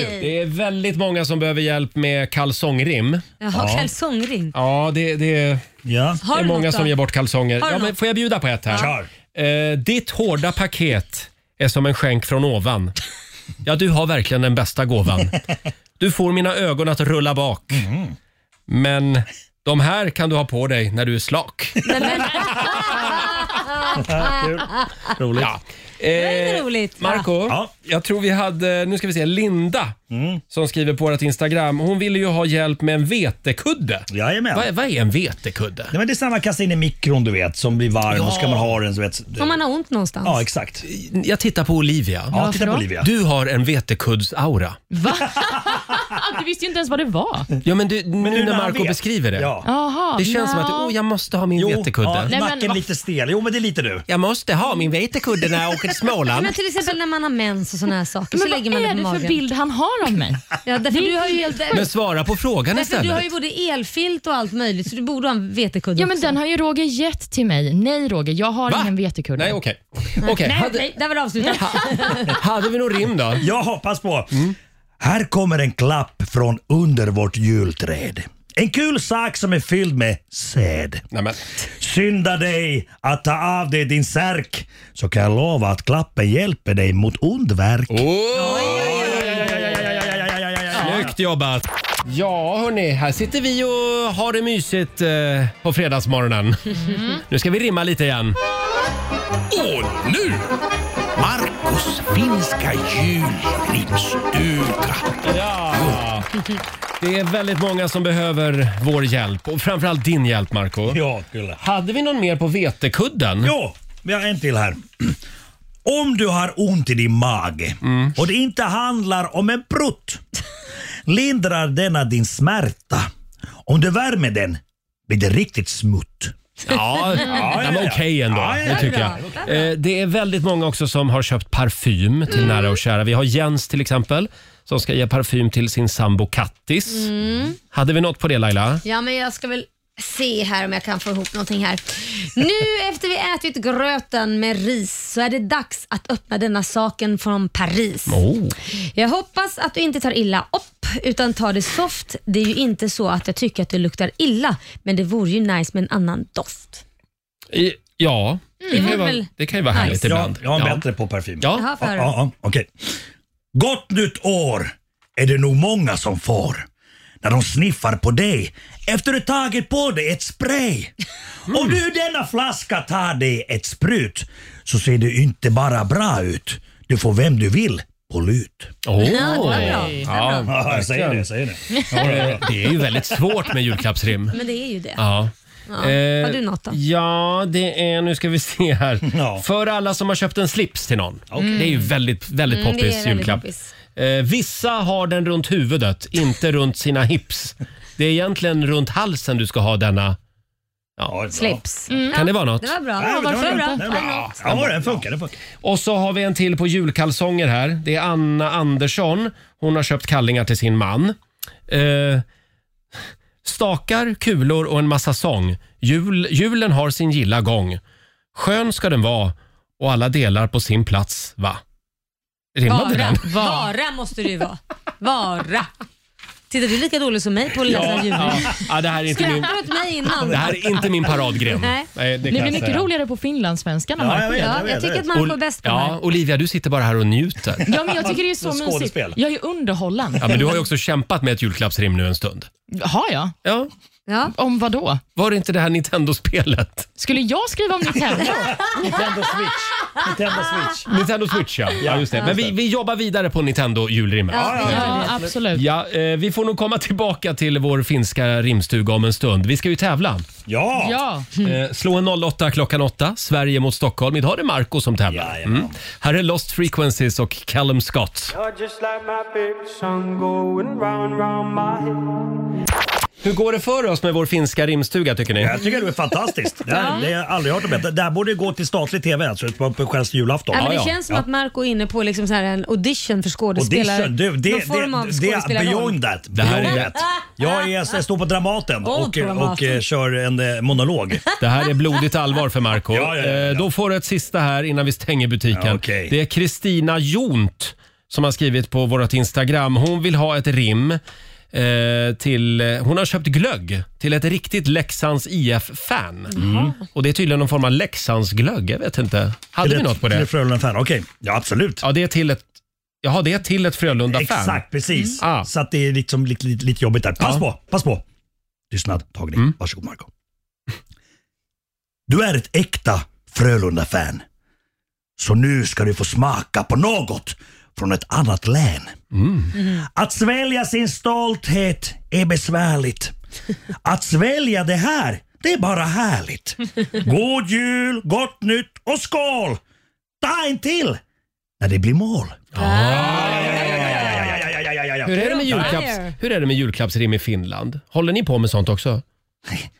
Hej. Det är väldigt många som behöver hjälp med kalsongrim. Jaha, kalsongring. Ja, det, det Ja. Har är du många något som då? ger bort kalsonger. Har du Ja, men något? får jag bjuda på ett här? Kör. Eh, ditt hårda paket är som en skänk från ovan. Ja, du har verkligen den bästa gåvan. Du får mina ögon att rulla bak. Mm. Men de här kan du ha på dig när du <laughs> är slak. Nej, <laughs> men, Roligt. Ja. är Eh, roligt. Marco, Ja. jag tror vi hade, nu ska vi se, Linda Mm. som skriver på vårt Instagram. Hon ville ju ha hjälp med en vetekudde. Jajamän. Vad, vad är en vetekudde? Nej, men det är samma kasta in i mikron du vet som blir varm och ska man ha den så vet om man har ont någonstans. Ja exakt. Jag tittar på Olivia. Ja, varför titta på då? Olivia. Du har en vetekudds-aura. Du visste ju inte ens vad det var. Ja, men, du, nu nu när när han Marco vet. beskriver det. Ja. Jaha, Det känns som nja. att oh, jag måste ha min Jo, vetekudde. ja, men nacken vad- lite stel. Jo men det är lite du. Jag måste ha min vetekudde när jag åker till Småland. Men till exempel när man har mens och såna här saker så Men lägger vad man är det det på för magen. bild han har av <laughs> mig? Ja, därför du har ju helt... Men svara på frågan Därför du har ju istället. både elfilt och allt möjligt, så du borde ha en vetekudde Ja, men också. den har ju Roger gett till mig. Nej Roger, jag har Va? ingen vetekudde. Nej, okej. Okej, Nej, hade, nej, där var det avslutat. hade vi nog rim då? Jag hoppas på. Mm. Här kommer en klapp från under vårt julträd. En kul sak som är fylld med säd. Nej, men. Synda dig att ta av dig din särk så kan jag lova att klappen hjälper dig mot ond värk. Oh, Ja, ja, ja, ja, ja, ja, ja, ja, ja, ja, ja. snyggt jobbat! Ja, hörni, här sitter vi och har det mysigt eh, på fredagsmorgonen. Mm-hmm. Nu ska vi rimma lite igen. Och nu! Marcos finska julrimsstuga. Ja. Det är väldigt många som behöver vår hjälp och framförallt din hjälp, Marco. Ja, Kulle. Hade vi någon mer på vetekudden? Jo, vi har en till här. Om du har ont i din mage och det inte handlar om en prutt, lindrar denna din smärta. Om du värmer den blir det riktigt smutt. Ja, ja, ja, den var ja. okej ändå. Ja, ja, det ja, tycker bra. jag. Eh, Det är väldigt många också som har köpt parfym till Mm. nära och kära. Vi har Jens till exempel som ska ge parfym till sin sambo Kattis. Mm. Hade vi något på det Laila? Ja, men jag ska väl se här om jag kan få ihop någonting här. Nu efter vi ätit gröten med ris så är det dags att öppna denna saken från Paris. Oh. Jag hoppas att du inte tar illa upp utan tar det soft. Det är ju inte så att jag tycker att det luktar illa, men det vore ju nice med en annan doft. I, ja, det det, var kan ju vara, väl det kan ju vara härligt Ja, ibland. Jag är bättre på parfym. Ja. Jaha, Ja, för- ja, ja, okej. Gott nytt år är det nog många som får när de sniffar på dig efter du tagit på dig ett spray. Om du ur denna flaska tar dig ett sprut så ser du inte bara bra ut. Du får vem du vill på lut. Åh. Ja, det var bra. Det var bra. Ja, jag säger det, jag säger det. Eh, Det är ju väldigt svårt med julklappsrim. Men det är ju det. Ja. Eh, Ja. Har du något då? Ja, det är... Nu ska vi se här. Ja. För alla som har köpt en slips till någon. Det är ju väldigt, väldigt Mm, det är poppis väldigt julklapp. poppis. Eh, vissa har den runt huvudet, inte runt sina hips. Det är egentligen runt halsen du ska ha denna. Ja, Slips. Kan det vara något? Det var bra. Ja, Ja, men det var varför bra. bra? Det var bra. Ja, den funkar. Den funkar. Och så har vi en till på julkalsonger här. Det är Anna Andersson. Hon har köpt kallingar till sin man. Eh, stakar, kulor och en massa sång. Jul, julen har sin gilla gång. Skön ska den vara och alla delar på sin plats, va? Rimmade Vara. den? Vara måste det ju vara. Vara. Titta, du är lika dålig som mig på att läsa Ja, julrim. ja, ja, det här är inte min, Skrattar åt mig det innan. här är inte min paradgren. Nej. Nej, det Det kan blir jag mycket säga. roligare på finlandssvenskan Ja, jag Marco. vet, jag Ja, vet. jag tycker att vet. man får bäst på det Ja, här. Olivia, du sitter bara här och njuter. Ja, men jag tycker det är <laughs> så Något mysigt. skådespel. Jag är ju underhållen. Ja, men du har ju också kämpat med ett julklappsrim nu en stund. Har jag? Ja, Ja. Om vad då? var det inte det här Nintendo-spelet? Skulle jag skriva om <laughs> Nintendo? Nintendo Switch. Nintendo Switch. Nintendo Switch <laughs> ja. ja just det. Men vi, vi jobbar vidare på Nintendo julrimmet. Ja. ja, absolut. eh, vi får nog komma tillbaka till vår finska rimstuga om en stund. Vi ska ju tävla. Ja. Ja. Eh, slå en 08 klockan 8, Sverige mot Stockholm. Idag är det Marco som tävlar. Mm. Jajamän. Här är Lost Frequencies och Callum Scott. Hur går det för oss med vår finska rimstuga tycker ni? Jag tycker det är fantastiskt. Det, här, det har jag aldrig hört om. Det där borde gå till statlig TV alltså, på, på självaste julafton. Ja, men det ja, känns som ja. att Marco är inne på liksom så här en audition för skådespelare. Audition, du, det, Någon det, form av det, det är skådespelarroll. beyond that. Det här är- beyond that. Jag, är, jag står på Dramaten Åh, och, och, Dramaten. eh, kör en eh, monolog. Det här är blodigt allvar för Marco. Ja, ja, ja, ja. Eh, Då får du ett sista här innan vi stänger butiken. Ja, okej. Det är Kristina Jont som har skrivit på vårt Instagram. Hon vill ha ett rim eh, till... eh, Hon har köpt glögg till ett riktigt Leksands IF-fan. Och det är tydligen någon form av Leksandsglögg. Jag vet inte. Hade vi något på Till det? Frölunda Fan. Okej, ja absolut. Ja, det är till ett... Jaha, det är till ett Frölunda-fan. Exakt, precis. Mm. Ah. Så att det är liksom lite, lite, lite jobbigt där. Pass Ja. Mm. på, pass på. Tystnad, tagning. Varsågod Marco. Du är ett äkta Frölunda-fan. Så nu ska du få smaka på något från ett annat län. Att svälja sin stolthet är besvärligt. Att svälja det här, det är bara härligt. God jul, gott nytt och skål! Ta en till när det blir mål. Ah. Ja, ja, ja, ja, ja, ja. Hur är, det med julklapps, hur är det med julklappsrim i Finland? Håller ni på med sånt <laughs> också?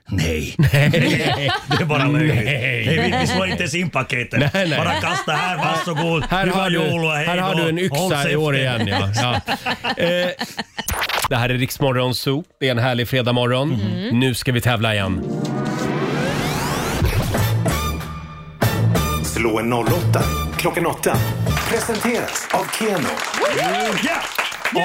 Nej. <laughs> det är bara löjligt. Nej, vi, vi slår inte ens in paketet. Nej, nej. Bara kasta här, varsågod. Här Nu var har, du, jul och hej här har då. du en Håll yxa i käften. år igen. <laughs> Ja. Ja. Eh, det här är Riksmorgon Zoo. Det är en härlig fredagmorgon. Mhm. Nu ska vi tävla igen. Slå en 08 klockan 8. Presenteras av Keno. Ja!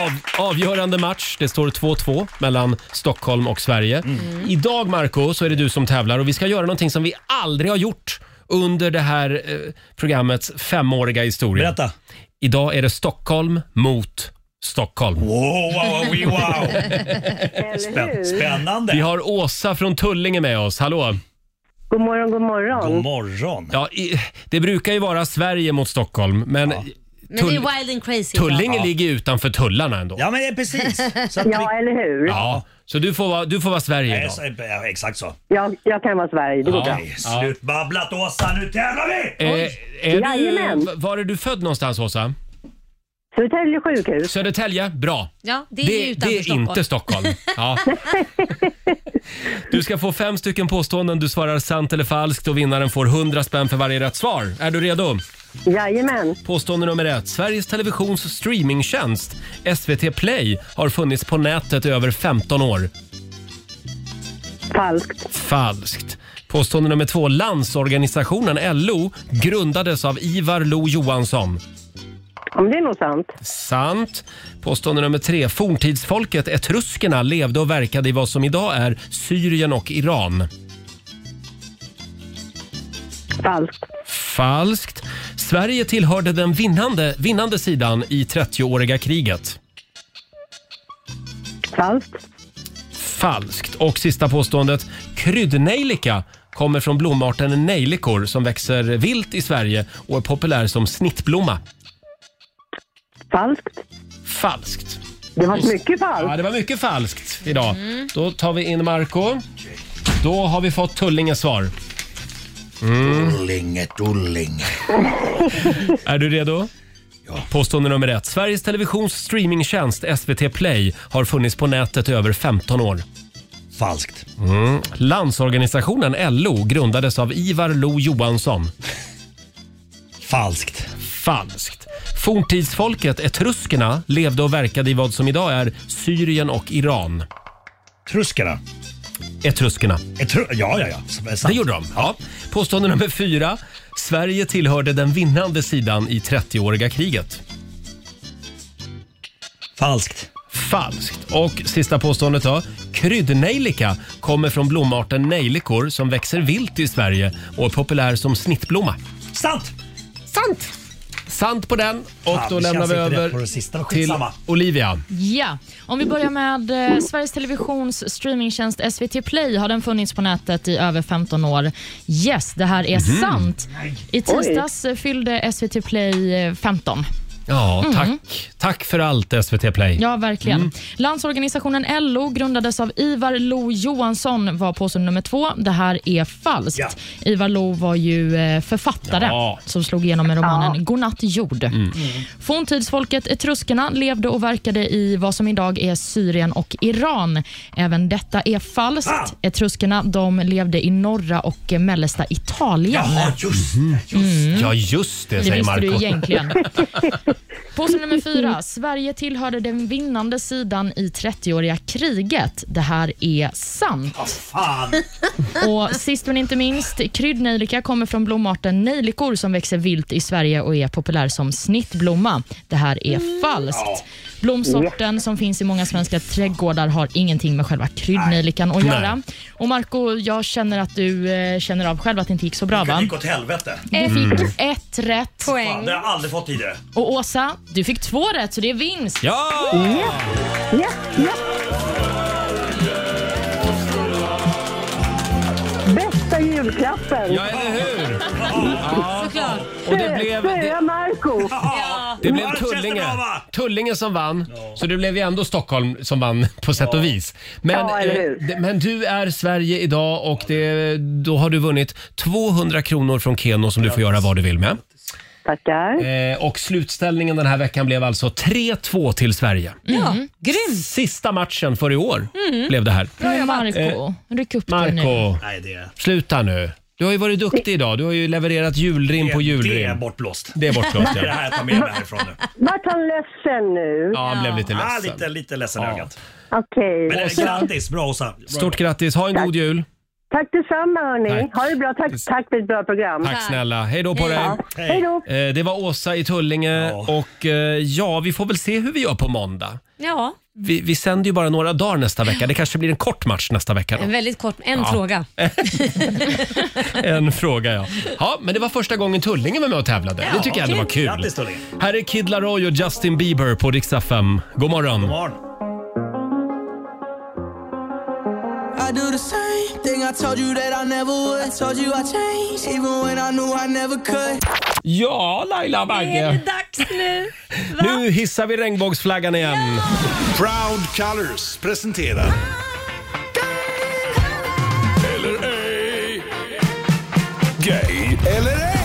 Av, avgörande match. Det står 2-2 mellan Stockholm och Sverige. Mm. Idag, Marco, så är det du som tävlar och vi ska göra någonting som vi aldrig har gjort under det här eh, programmets femåriga historia. Berätta. Idag är det Stockholm mot Stockholm. Wow, wow, wow, wow. Spän- hur? spännande. Vi har Åsa från Tullinge med oss. Hallå! God morgon, god morgon. morgon. Ja, i, det brukar ju vara Sverige mot Stockholm, men Men Tull- det är wild and crazy. Tullinge idag. ligger ju utanför tullarna ändå. Ja, <laughs> men precis. ja, eller hur? Ja, så du får vara, du får vara Sverige så- idag. Exakt så. Jag, jag kan vara Sverige, det går Ja. bra. Slut babblat Åsa, nu tävlar vi! Eh, är Jajamän. du, v- var är du född någonstans Åsa? Södertälje sjukhus. Södertälje, bra. Ja, det är ju Det, utanför det är Stockholm. inte Stockholm. <laughs> Ja. Du ska få fem stycken påståenden. Du svarar sant eller falskt och vinnaren får 100 spänn för varje rätt svar. Är du redo? Jajamän. Påstående nummer ett. Sveriges Televisions streamingtjänst SVT Play har funnits på nätet i över 15 år. Falskt. Falskt. Påstående nummer två. Landsorganisationen LO grundades av Ivar Lo Johansson. Om det är nog sant. Sant. Påstående nummer tre. Forntidsfolket etruskerna levde och verkade i vad som idag är Syrien och Iran. Falskt. Falskt. Sverige tillhörde den vinnande, vinnande sidan i 30-åriga kriget. Falskt. Falskt. Och sista påståendet. Kryddnejlika kommer från blomarten nejlikor som växer vilt i Sverige och är populär som snittblomma. Falskt. Falskt. Det var mycket falskt. Ja, det var mycket falskt idag. Då tar vi in Marco. Då har vi fått Tullinges svar. Mm. Tullinge, Tullinge. Är du redo? Påstående nummer ett. Sveriges Televisions streamingtjänst SVT Play har funnits på nätet i över 15 år. Falskt. Mm. Landsorganisationen LO grundades av Ivar Lo Johansson. Falskt. Falskt. Forntidsfolket etruskerna levde och verkade i vad som idag är Syrien och Iran. Truskerna. Etruskerna. Etru ja, ja, ja. Som är sant. Det gjorde de. Ja. Påstående nummer fyra. Sverige tillhörde den vinnande sidan i 30-åriga kriget. Falskt. Falskt. Och sista påståendet då. Kryddnejlika kommer från blomarten nejlikor som växer vilt i Sverige och är populär som snittblomma. Sant! Sant! Sant på den. Och Fan, då det lämnar känns vi inte över rätt på det sista, men till skitsamma. Olivia. Ja, om vi börjar med eh, Sveriges Televisions streamingtjänst SVT Play har den funnits på nätet i över 15 år. Yes, det här är Mhm. sant. I Oj. tisdags eh, fyllde SVT Play eh, 15. Ja, Mm. tack. Tack för allt SVT Play. Ja, verkligen. Mm. Landsorganisationen LO grundades av Ivar Lo Johansson var påstående nummer två. Det här är falskt. Ivar Lo var ju eh, författare som slog igenom med romanen Godnatt jord. Mm. Forntidsfolket etruskerna levde och verkade i vad som idag är Syrien och Iran. Även detta är falskt. Etruskerna de levde i norra och eh, mellersta Italien. Mm. Ja, just det, Det säger visste Marco. du egentligen. <laughs> Påse nummer fyra. Sverige tillhörde den vinnande sidan i 30-åriga kriget. Det här är sant. Och sist men inte minst, kryddnejlika kommer från blomarten nejlikor som växer vilt i Sverige och är populär som snittblomma. Det här är falskt. Blomsorten som finns i många svenska trädgårdar har ingenting med själva kryddnejlikan att Nej. göra. Och Marco, jag känner att du eh, känner av själv att det inte gick så bra Det va? gick åt helvete. Jag fick Mm. ett rätt. Fan, det har jag aldrig fått tidigare. Och Åsa, du fick två rätt så det är vinst. Ja! Bästa julklappen! Ja, eller hur? Ja. Såklart. Och det blev- det- Spöa Marco! Det blev Tullinge. Tullinge som vann, så det blev ju ändå Stockholm som vann <laughs> på sätt och vis. Men, Ja, eller eh, hur? d- men du är Sverige idag och det, då har du vunnit 200 kronor från Keno som du får göra vad du vill med. Tackar. Eh, och slutställningen den här veckan blev alltså 3-2 till Sverige. Mm. Ja, grym. Sista matchen för i år Mm. blev det här. Men Eh, Marco, ryck upp dig nu. Marco, sluta nu. Du har ju varit duktig idag. Du har ju levererat julrim på julrim. det är bortblåst. Det är bortblåst, ja. <laughs> Det är det här jag tar med mig härifrån <laughs> nu. Vart han ledsen nu? Ja, han blev lite Ah, ledsen. lite, lite ledsen i ögat. Okej. Men eh, grattis, bra Åsa. Stort grattis, ha en god jul. Tack detsamma hörni. Tack. Ha det bra. Tack, tack för ett bra program. Tack snälla. Hej då på dig. Ja, Hej då. Eh, Det var Åsa i Tullinge och eh, ja, vi får väl se hur vi gör på måndag. Ja, Vi, vi sänder ju bara några dagar nästa vecka. Det kanske blir en kort match nästa vecka. <laughs> Då. en väldigt kort, en Ja. fråga. En fråga ja. Ja, men det var första gången Tullinge var med och tävlade. det tycker jag ändå var kul. Grattis, Tullinge. Här är Kid Laroi och Justin Bieber på riksdag 5. God morgon. I do the same thing I told you that I never would. I told you I changed, even when I knew I never could. Ja, Laila Bagge. dags nu? Nu hissar vi regnbågsflaggan igen. Proud Colors presenterar... Eller ej. Gay eller ej.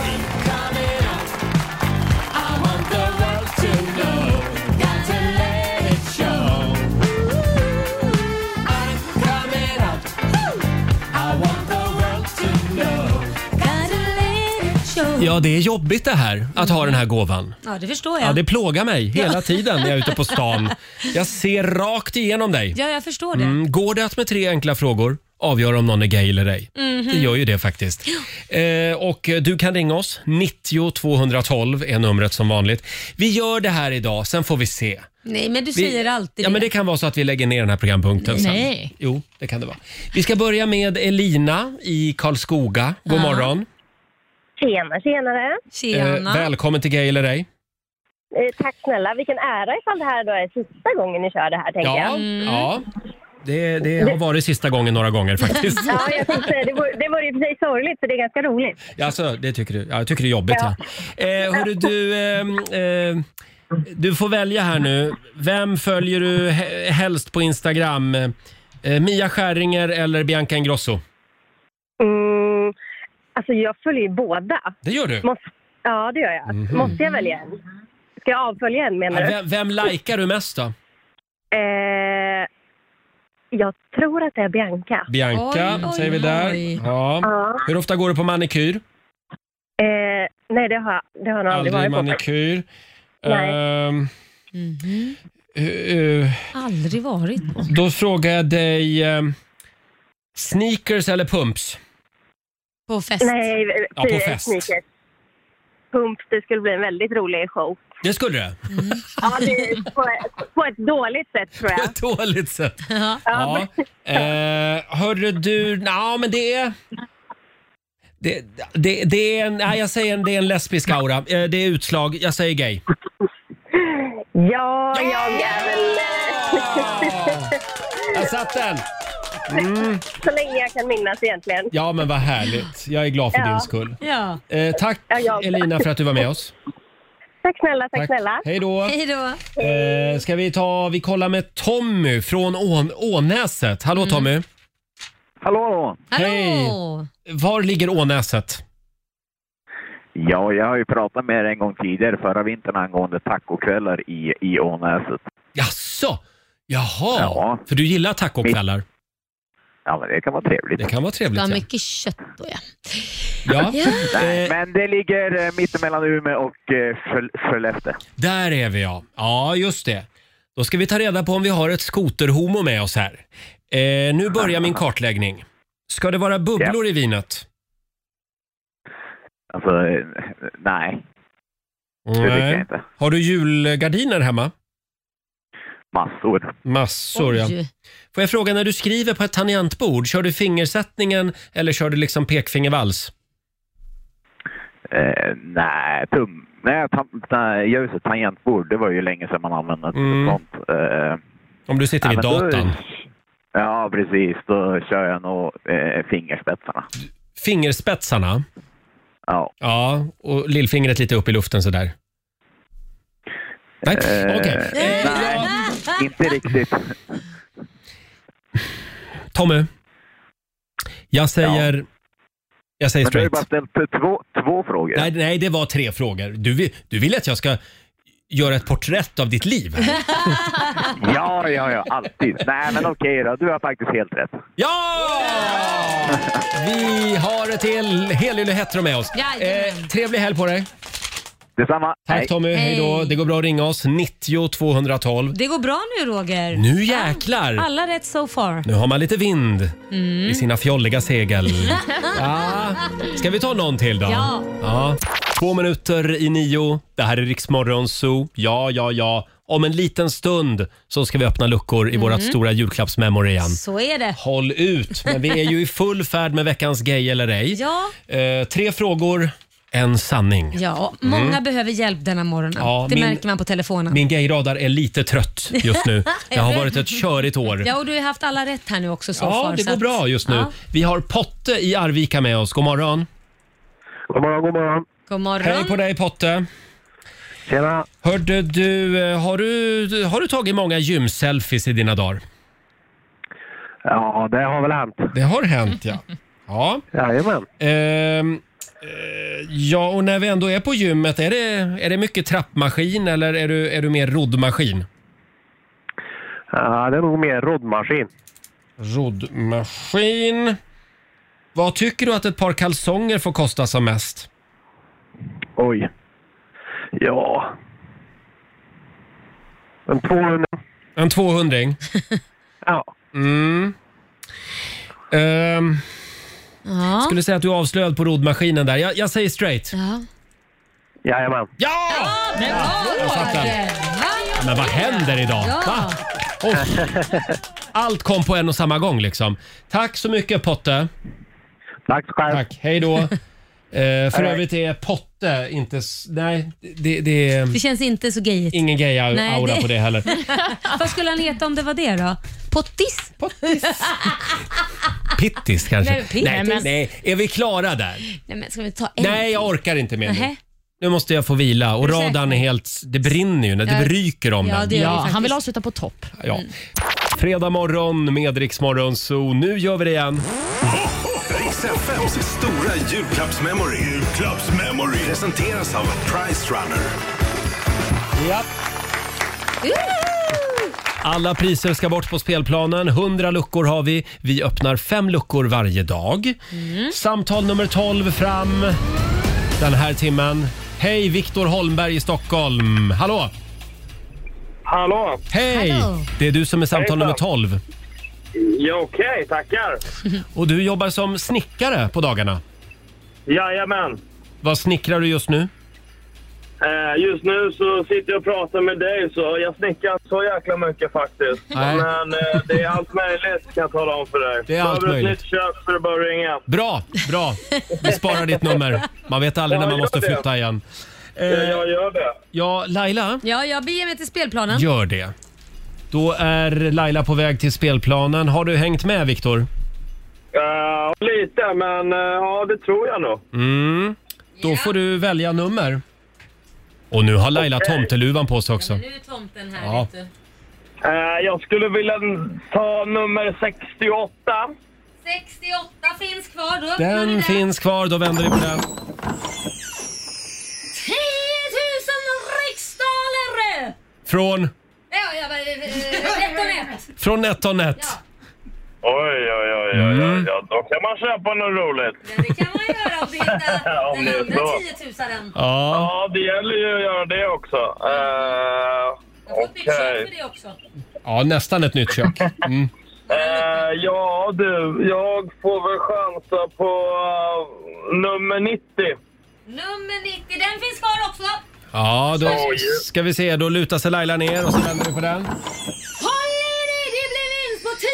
Ja, det är jobbigt det här, att ha den här gåvan. Ja, det förstår jag. Ja, det plågar mig hela Ja. tiden när jag är <laughs> ute på stan. Jag ser rakt igenom dig. Ja, jag förstår det. Mm, går det att med tre enkla frågor avgöra om någon är gay eller ej? Mhm. Det gör ju det faktiskt. Eh, och eh, du kan ringa oss. 90 212 är numret som vanligt. Vi gör det här idag, sen får vi se. Nej, men du Vi- säger alltid Ja, det. men det kan vara så att vi lägger ner den här programpunkten Nej. sen. Jo, det kan det vara. Vi ska börja med Elina i Karlskoga. God Ja. morgon. Tjena, tjenare. Eh, välkommen till Gay eller ej. Eh, tack snälla. Vilken ära ifall det här då är sista gången ni kör det här, tänker Ja, jag. Mm. ja. Det, det har varit sista gången några <laughs> gånger faktiskt. ja, jag tänkte, säga, det, vore, det vore i och för sig sorgligt, för det är ganska roligt. Ja, Alltså, det tycker du? Ja, jag tycker det är jobbigt. Ja. Ja. Eh, hörru, du, ehm, eh, du får välja här nu. Vem följer du he- helst på Instagram? Eh, Mia Skäringer eller Bianca Ingrosso? Mm, alltså, jag följer ju båda. Det gör du? Måste, ja, det gör jag. Mhm. Måste jag välja en? Ska jag avfölja en, menar Ja, du? vem, vem likar du mest då? Eh, jag tror att det är Bianca. Bianca säger vi där. Ja. Ja. Hur ofta går du på manikyr? Eh, nej, det har, jag- det har jag nog aldrig, Aldrig varit på. manikyr. Nej. Ehm, eh, eh, Aldrig varit på. då frågar jag dig, ehm, sneakers eller pumps? På fest? Nej, Ja, på eh, fest. sneakers. Pump, det skulle bli en väldigt rolig show. Det skulle det. Ja, det, på, på ett dåligt sätt tror <laughs> jag. Dåligt sätt. Ja. Ja. Eh, hörru du, ja men det är... Det, det, det är en, nej, jag säger en, det är en lesbisk aura. Eh, det är utslag. Jag säger gay. Ja, jag är väl... Jag satt den! Mm. Så länge jag kan minnas egentligen. Ja men vad härligt. Jag är glad för Ja. din skull. Ja. Eh, tack Ja, jag- Elina för att du var med oss. Tack snälla, tack, Tack. snälla. Hej då. Hej då. Eh, ska vi ta, vi kollar med Tommy från Ån, Ånäset. Hallå Tommy. Hallå! Hej! Var ligger Ånäset? Ja, jag har ju pratat med er en gång tidigare förra vintern angående tacokvällar i, i Ånäset. Jaså? Jaha, för du gillar tacokvällar? Ja, men det kan vara trevligt. Det kan vara Det trevligt, var ja. mycket kött då <laughs> ja. Ja. Eh, Nej, men det ligger eh, mittemellan Umeå och eh, Skel- Skellefteå. Där är vi ja. Ja, just det. Då ska vi ta reda på om vi har ett skoterhomo med oss här. Eh, nu börjar min kartläggning. Ska det vara bubblor i vinet? Alltså, eh, nej. Det tycker jag inte. Har du julgardiner hemma? Massor. Massor ja. Oj. Får jag fråga, när du skriver på ett tangentbord, kör du fingersättningen eller kör du liksom pekfingervals? Eh, nej, tum... Nej, ta, nej, jag just ett tangentbord. Det var ju länge sedan man använde ett sånt. Eh, Om du sitter ja, vid men då- datorn. Ja, precis. Då kör jag nog eh, fingerspetsarna. Fingerspetsarna? Ja. Ja, och lillfingret lite upp i luften sådär. Nej, Eh, okej. Nej, inte riktigt. Tommy. Jag säger... Jag säger Men du har ju straight. bara ställt eh, två, två frågor. Nej, nej, det var tre frågor. Du, vill- du vill att jag ska göra ett porträtt av ditt liv? här. Ja, ja, ja, alltid. Nej, men okej då. Du har faktiskt helt rätt. Ja! Vi har ett hel, Helylle Hetero med oss. Eh, Jajamän. trevlig helg på dig. Detsamma. Tack Tommy, hej då. Hej. Det går bra att ringa oss, 90 212. Det går bra nu Roger. Nu jäklar! Alla rätt so far. Nu har man lite vind Mm. i sina <laughs> fjolliga segel. Ja. Ska vi ta någon till då? Ja. Ja. Två minuter i nio. Det här är Riksmorgon Zoo. Ja, ja, ja. Om en liten stund så ska vi öppna luckor i Mm. vårt stora julklappsmemory igen. Så är det. Håll ut, men vi är ju i full färd med veckans gay eller ej. Ja. Eh, tre frågor, en sanning. Ja, många Mm. behöver hjälp denna morgonen. Ja, det min- märker man på telefonen. Min gayradar är lite trött just nu. Det <laughs> har Är du? varit ett körigt år. Ja, och du har haft alla rätt här nu också so Ja, far, det så går att- bra just nu. Ja. Vi har Potte i Arvika med oss. God morgon. God morgon, god morgon. God morgon. Hej på dig Potte. Tjena. Hörde du, eh, har du, har du tagit många gymselfies i dina dagar? Ja, det har väl hänt. Det har hänt ja. <laughs> Ja. Jajamän. Ehm, eh, ja, och när vi ändå är på gymmet, är det, är det mycket trappmaskin eller är du, är du mer roddmaskin? Ja, det är nog mer roddmaskin. Roddmaskin. Vad tycker du att ett par kalsonger får kosta som mest? Oj. Ja. En 200. En 200 Ja. Mm. Ehm, Ja. Skulle säga att du är avslöjad på roddmaskinen där. Jag, jag säger straight. Ja! Jajamän. Ja! Jag fattar. Men vad händer idag? Ja. Va? Oh. Allt kom på en och samma gång liksom. Tack så mycket Potte. Tack själv. Tack, hej då. Eh, för Hej. övrigt är Potte inte... s- Nej, det, det är Det känns inte så gayigt. ingen Nej, gay-aura på det heller. Vad skulle han heta om det var det då? Pottis? Pottis. Pittis kanske? Nej, pittis. Nej, Nej, men- nej, är vi klara där? Nej, men ska vi ta en? Nej, jag orkar inte mer nu. Nähä. Nu måste jag få vila och Är du säker? radarn är helt... Det brinner ju, när det ryker om den. Ja, han vill avsluta på topp. Ja. Fredag morgon med Rix Morgon, så nu gör vi det igen. Riks FMs stora julklappsmemory. Julklappsmemory. Presenteras av Price Runner. Ja. Alla priser ska bort på spelplanen. 100 luckor har vi. Vi öppnar fem luckor varje dag. Samtal nummer 12 fram den här timmen. Hej, Viktor Holmberg i Stockholm. Hallå! Hallå! Hej! Det är du som är samtal Hejsan. nummer 12. Ja, okej, tackar. Och du jobbar som snickare på dagarna. Jajamän. Vad snickrar du just nu? Eh, Just nu så sitter jag och pratar med dig, så jag snickrar inte så jäkla mycket faktiskt. Nej. Men eh, det är allt möjligt kan jag tala om för dig. Det är allt Behöver du möjligt. ett nytt kök så är det bara att ringa. Bra, bra. Vi sparar ditt nummer. Man vet aldrig när Ja, man gör måste det. flytta igen. Eh, Jag gör det. ja, Laila? Ja, jag beger mig till spelplanen. Gör det. Då är Laila på väg till spelplanen. Har du hängt med Viktor? Eh, lite, men eh, ja, det tror jag nog. Mm. Då får du välja nummer. Och nu har Laila Okej. tomteluvan på sig också. Nu är tomten här Ja. vet du. Eh, jag skulle vilja ta nummer 68. 68 finns kvar. Då öppnar vi Den finns kvar, då vänder vi på 10 den. 000 riksdaler! Från, Ja, jag bara... eh, Rätt och rätt. från NetOnNet. Oj, oj, oj, oj, Mm. oj, oj. Då kan man köpa något roligt. Den det är så. andra 10 000. Ja. det gäller ju att göra det också. Eh, Okej. Det också. Ja, nästan ett nytt kök. Mm. Eh, ja, du. Jag får väl chansa på eh, nummer 90. Nummer 90, den finns kvar också. Ja, då Oj. ska vi se. Då lutar sig Laila ner och så vänder vi på den. Håll i dig, det blir vinst på 10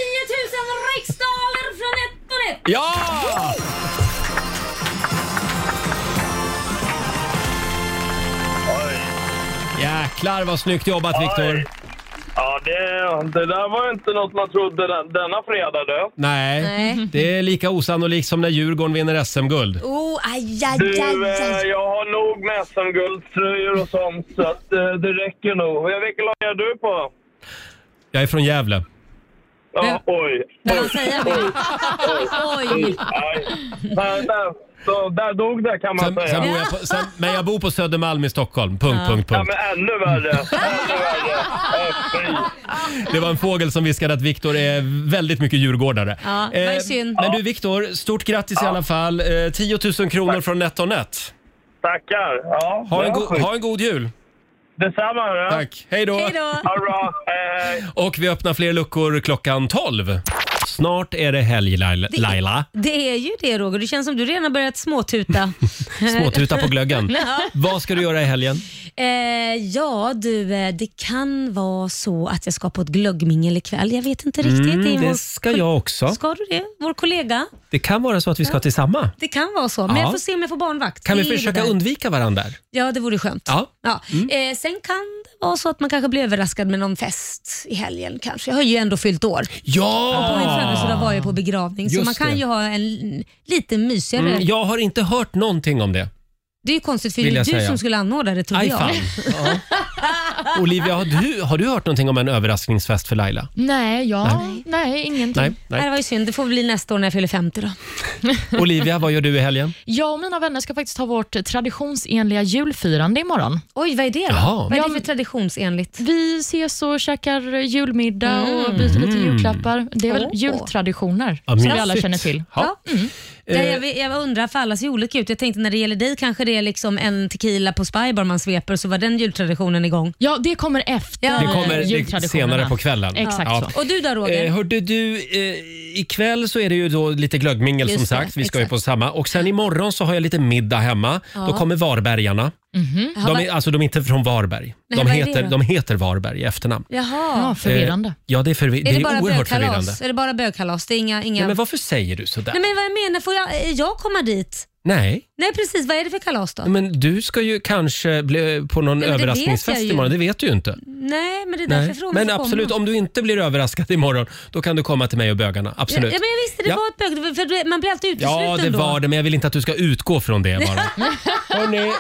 000 riksdaler från ett och ett. Ja! Jäklar vad snyggt jobbat Viktor. Ja, det, det där var inte något man trodde den, denna fredag, du. Nej, Nej. det är lika osannolikt som när Djurgården vinner SM-guld. Oh, aj, aj, Du, aj, eh, aj. jag har nog med SM-guldtröjor och sånt, så att, eh, det räcker nog. Eh, Vilken lag är du på? Jag är från Gävle. Ja, oj. Vill han säga det? Oj! Aj. Där, där, så, där dog det, kan man Sen, säga. sen bor jag på, sen, men jag bor på Södermalm i Stockholm. Punkt, punkt, Ja, punkt. men ännu värre. Ännu värre. Eh, fy. Det var en fågel som viskade att Viktor är väldigt mycket djurgårdare. Ja, det var ju synd. Eh, men du Viktor, stort grattis i alla fall. Eh, 10 000 kronor från NetOnNet. Tackar. Ja, Ha en, bra go- skit. ha en god jul! Detsamma. hörru. Tack. Hej då. Hej då. Ha det bra. Hej, hej. Och vi öppnar fler luckor klockan 12. Snart är det helg Laila. Det- Laila. Det är ju det Roger, det känns som du redan har börjat <laughs> småtuta. Småtuta på glöggen. <laughs> ja. Vad ska du göra i helgen? Eh, ja du, eh, det kan vara så att jag ska på ett glöggmingel ikväll. Jag vet inte riktigt. Mm, är vår- det ska jag också. Ska du det? Vår kollega? Det kan vara så att vi ska till samma. Det kan vara så, men Ja. jag får se om jag får barnvakt. Kan vi Det är försöka det där. undvika varandra? Ja, det vore skönt. Ja. Mm. Ja. Eh, sen kan det vara så att man kanske blir överraskad med någon fest i helgen kanske. Jag har ju ändå fyllt år. Ja! Och på min födelsedag var jag på begravning, så Ah. Just man kan det. ju ha en l- lite mysigare... Mm, jag har inte hört någonting om det. Det är ju konstigt för det Vill är ju jag du säga. som skulle anordna det trodde Aj, jag. fan. Ja. Olivia, har du, har du hört någonting om en överraskningsfest för Laila? Nej, ja, nej. ingenting. Nej, nej. Det var ju synd. Det får bli nästa år när jag fyller 50 då. Olivia, vad gör du i helgen? Jag och mina vänner ska faktiskt ha vårt traditionsenliga julfirande imorgon. Oj, vad är det då? Jaha. Vad är det för traditionsenligt? Vi ses och käkar julmiddag och byter lite Mm. julklappar. Det är väl Åh. jultraditioner Ja, som vi mysigt. alla känner till. Mm. Ja. Ja, jag, vet- jag undrar, för alla ser ju olika ut. Jag tänkte när det gäller dig kanske det är liksom en tequila på Spybar man sveper så var den jultraditionen igång. Ja, det kommer efter Det kommer det- senare på kvällen. Exakt Ja. så. Och du då Roger? Eh, hörde du, eh, ikväll så är det ju då lite glöggmingel Just som det, sagt. Vi ska ju exakt. på samma. Och sen imorgon så har jag lite middag hemma. Ja. Då kommer Varbergarna. Mhm. De är, alltså de är inte från Varberg. Nej, De vad är det heter, då? de heter Varberg i efternamn. Jaha. Ja, Eh, ja, det är, förvi- det är, oerhört förvirrande. Är det bara bögkalas? Det är inga... inga... Nej, men varför säger du sådär? Nej, men vad jag menar, får jag, är jag komma dit? Nej. Nej precis, vad är det för kalas då? Men du ska ju kanske bli eh, på någon Nej, men det vet överraskningsfest jag ju. imorgon. Det vet du ju inte. Nej, men det är därför Nej. jag frågar. Men om jag får absolut, komma. om du inte blir överraskad imorgon, då kan du komma till mig och bögarna. Absolut. Ja, ja, men jag visste det Ja. var ett bög, för du- man blir alltid utesluten Ja, det då. var det, men jag vill inte att du ska utgå från det bara. <laughs> Hörrni,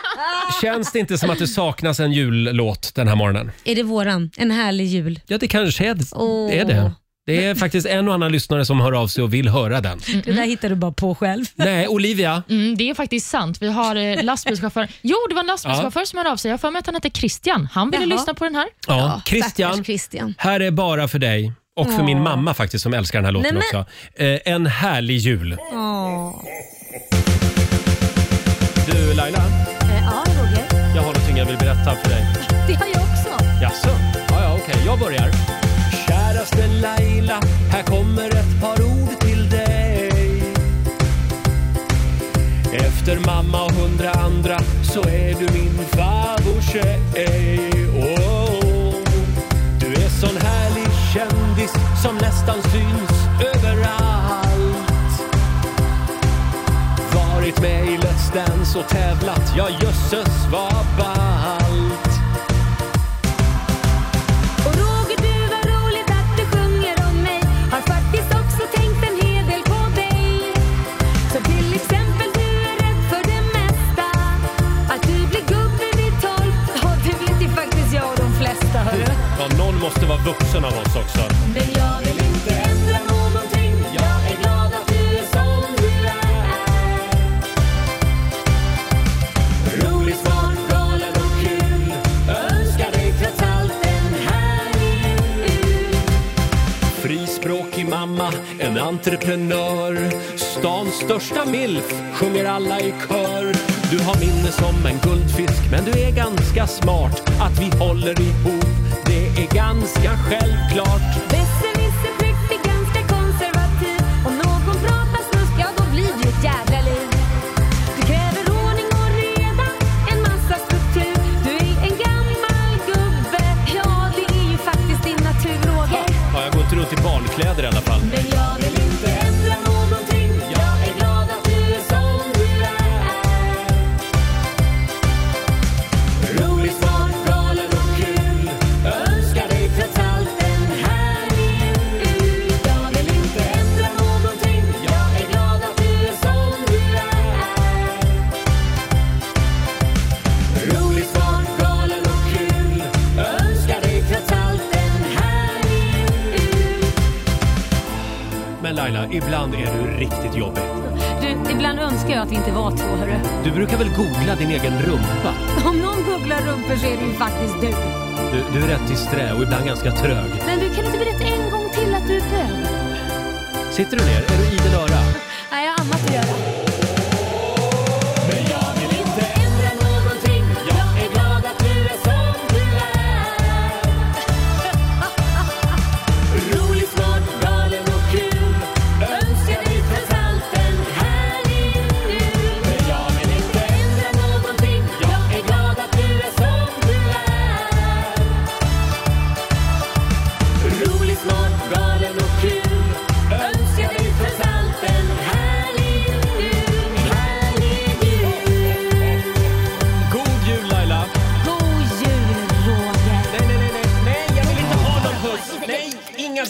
känns det inte som att det saknas en jullåt den här morgonen? Är det våran? En härlig jul. Ja, det kanske är, Åh. är det. Det är faktiskt en och annan lyssnare som hör av sig och vill höra den. Det där hittar du bara på själv. Nej, Olivia. Mm, det är faktiskt sant. Vi har <laughs> eh, lastbilschaufför. Jo, det var en lastbilschaufför som hörde av sig. Jag har för mig att han hette Christian. Han ville Jaha. lyssna på den här. Ja, Christian, stackars Christian. här är bara för dig och för Åh. min mamma faktiskt som älskar den här låten Nej, men- också. Eh, en härlig jul. Åh. Du Laila, Eh, Ja, Roger. jag har någonting jag vill berätta för dig. Det har jag också. Jaså? Ja, ja, okej. Jag börjar. Käraste Laila, här kommer ett par ord till dig. Efter mamma och hundra andra så är du min favorittjej. Oh, du är sån härlig kändis som nästan syns överallt. Varit med i Let's Dance och tävlat, ja jösses vad ballt. Och Roger, du var roligt att du sjunger om mig. Har faktiskt också tänkt en hel del på dig. Så till exempel, du är rädd för det mesta. Att du blir gubbe vid tolv. Ja, det vet ju faktiskt jag och de flesta, hörru. Mm. Ja, någon måste vara vuxen av oss också. Men jag vill inte ändra någonting. Jag är glad att du är som du är. Rolig, smart, galen och kul. Önskar dig trots allt en härlig jul. Frispråkig mamma, en entreprenör. Stans största milf, sjunger alla i kör. Du har minne som en guldfisk, men du är ganska smart. Att vi håller ihop, det är ganska självklart. Besse, Nisse, Prick är ganska konservativ. Om någon pratar snusk, ja då blir det ett jädra liv. Du kräver ordning och reda, en massa struktur. Du är en gammal gubbe, ja det är ju faktiskt din natur, Roger. Ja, jag går inte runt i barnkläder i alla fall. Men jag vill inte ändra någonting. Jag är glad att du är som du är. Rolig, smart, galen och kul. Önskar dig trots allt en härlig jul. Jag vill inte ändra någonting. Jag är glad att du är som du är. Rolig, smart, galen och kul. Önskar dig trots allt en härlig jul. Men Laila, ibland är du riktigt jobbig. Du, ibland önskar jag att vi inte var två, hörru. Du brukar väl googla din egen rumpa? Om någon googlar rumpor så är det ju faktiskt du. Du, du är rätt disträ och ibland ganska trög. Men du kan inte berätta en gång till att du är bög? Sitter du ner? Är du idel öra? Nej, jag har annat att göra. Men jag vill inte ändra <laughs>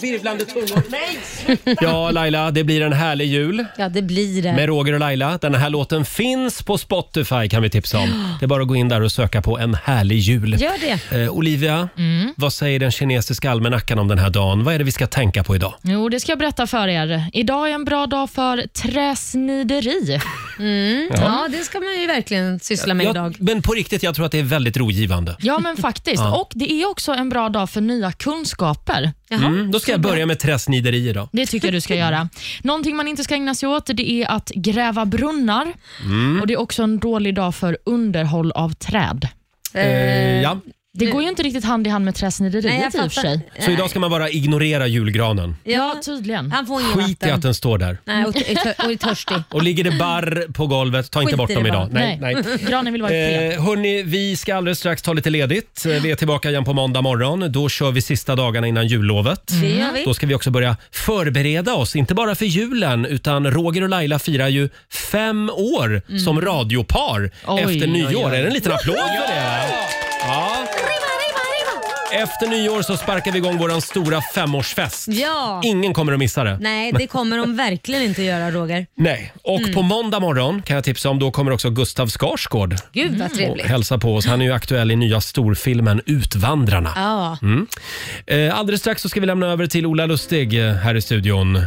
virvlande tungor. Nej! Ja, Laila, det blir en härlig jul. Ja, det blir det. Med Roger och Laila. Den här låten finns på Spotify kan vi tipsa om. Det är bara att gå in där och söka på en härlig jul. Gör det. Eh, Olivia, vad säger den kinesiska almanackan om den här dagen? Vad är det vi ska tänka på idag? Jo, det ska jag berätta för er. Idag är en bra dag för träsnideri. Ja. Mm. Ja, det ska man ju verkligen syssla med Jag- idag. Men på riktigt, jag tror att det är väldigt rogivande. Ja, men faktiskt. Ja. Och Det är också en bra dag för nya kunskaper. Mm, då ska jag börja med träsnideri idag. Det tycker jag du ska göra. Någonting man inte ska ägna sig åt det är att gräva brunnar. Mm. Och Det är också en dålig dag för underhåll av träd. Eh, ja. Det går ju inte riktigt hand i hand med Nej, träsnideriet jag i och för fattar. sig. Så idag ska man bara ignorera julgranen. Ja, tydligen. Han får ingen Skit i vatten. att den står där. Nej, och, och, och är törstig. Och ligger det barr på golvet, ta inte Skit bort i dem det idag. bara. Nej, nej. Nej. <laughs> Granen vill vara i fred. Eh, hörni, vi ska alldeles strax ta lite ledigt. Eh, Vi är tillbaka igen på måndag morgon. Då kör vi sista dagarna innan jullovet. Det gör vi. Då ska vi också börja förbereda oss, inte bara för julen, utan Roger och Laila firar ju fem år som radiopar Mm. Oj, efter oj, nyår. oj. Är det en liten applåd för det? Ja. Efter nyår så sparkar vi igång vår stora femårsfest. Ja. Ingen kommer att missa det. Nej, det kommer de verkligen inte göra Roger. Nej, och Mm. på måndag morgon kan jag tipsa om, då kommer också Gustav Skarsgård Gud vad och trevligt. hälsa på oss. Han är ju aktuell i nya storfilmen Utvandrarna. Ja. Mm. Eh, alldeles strax så ska vi lämna över till Ola Lustig eh, här i studion.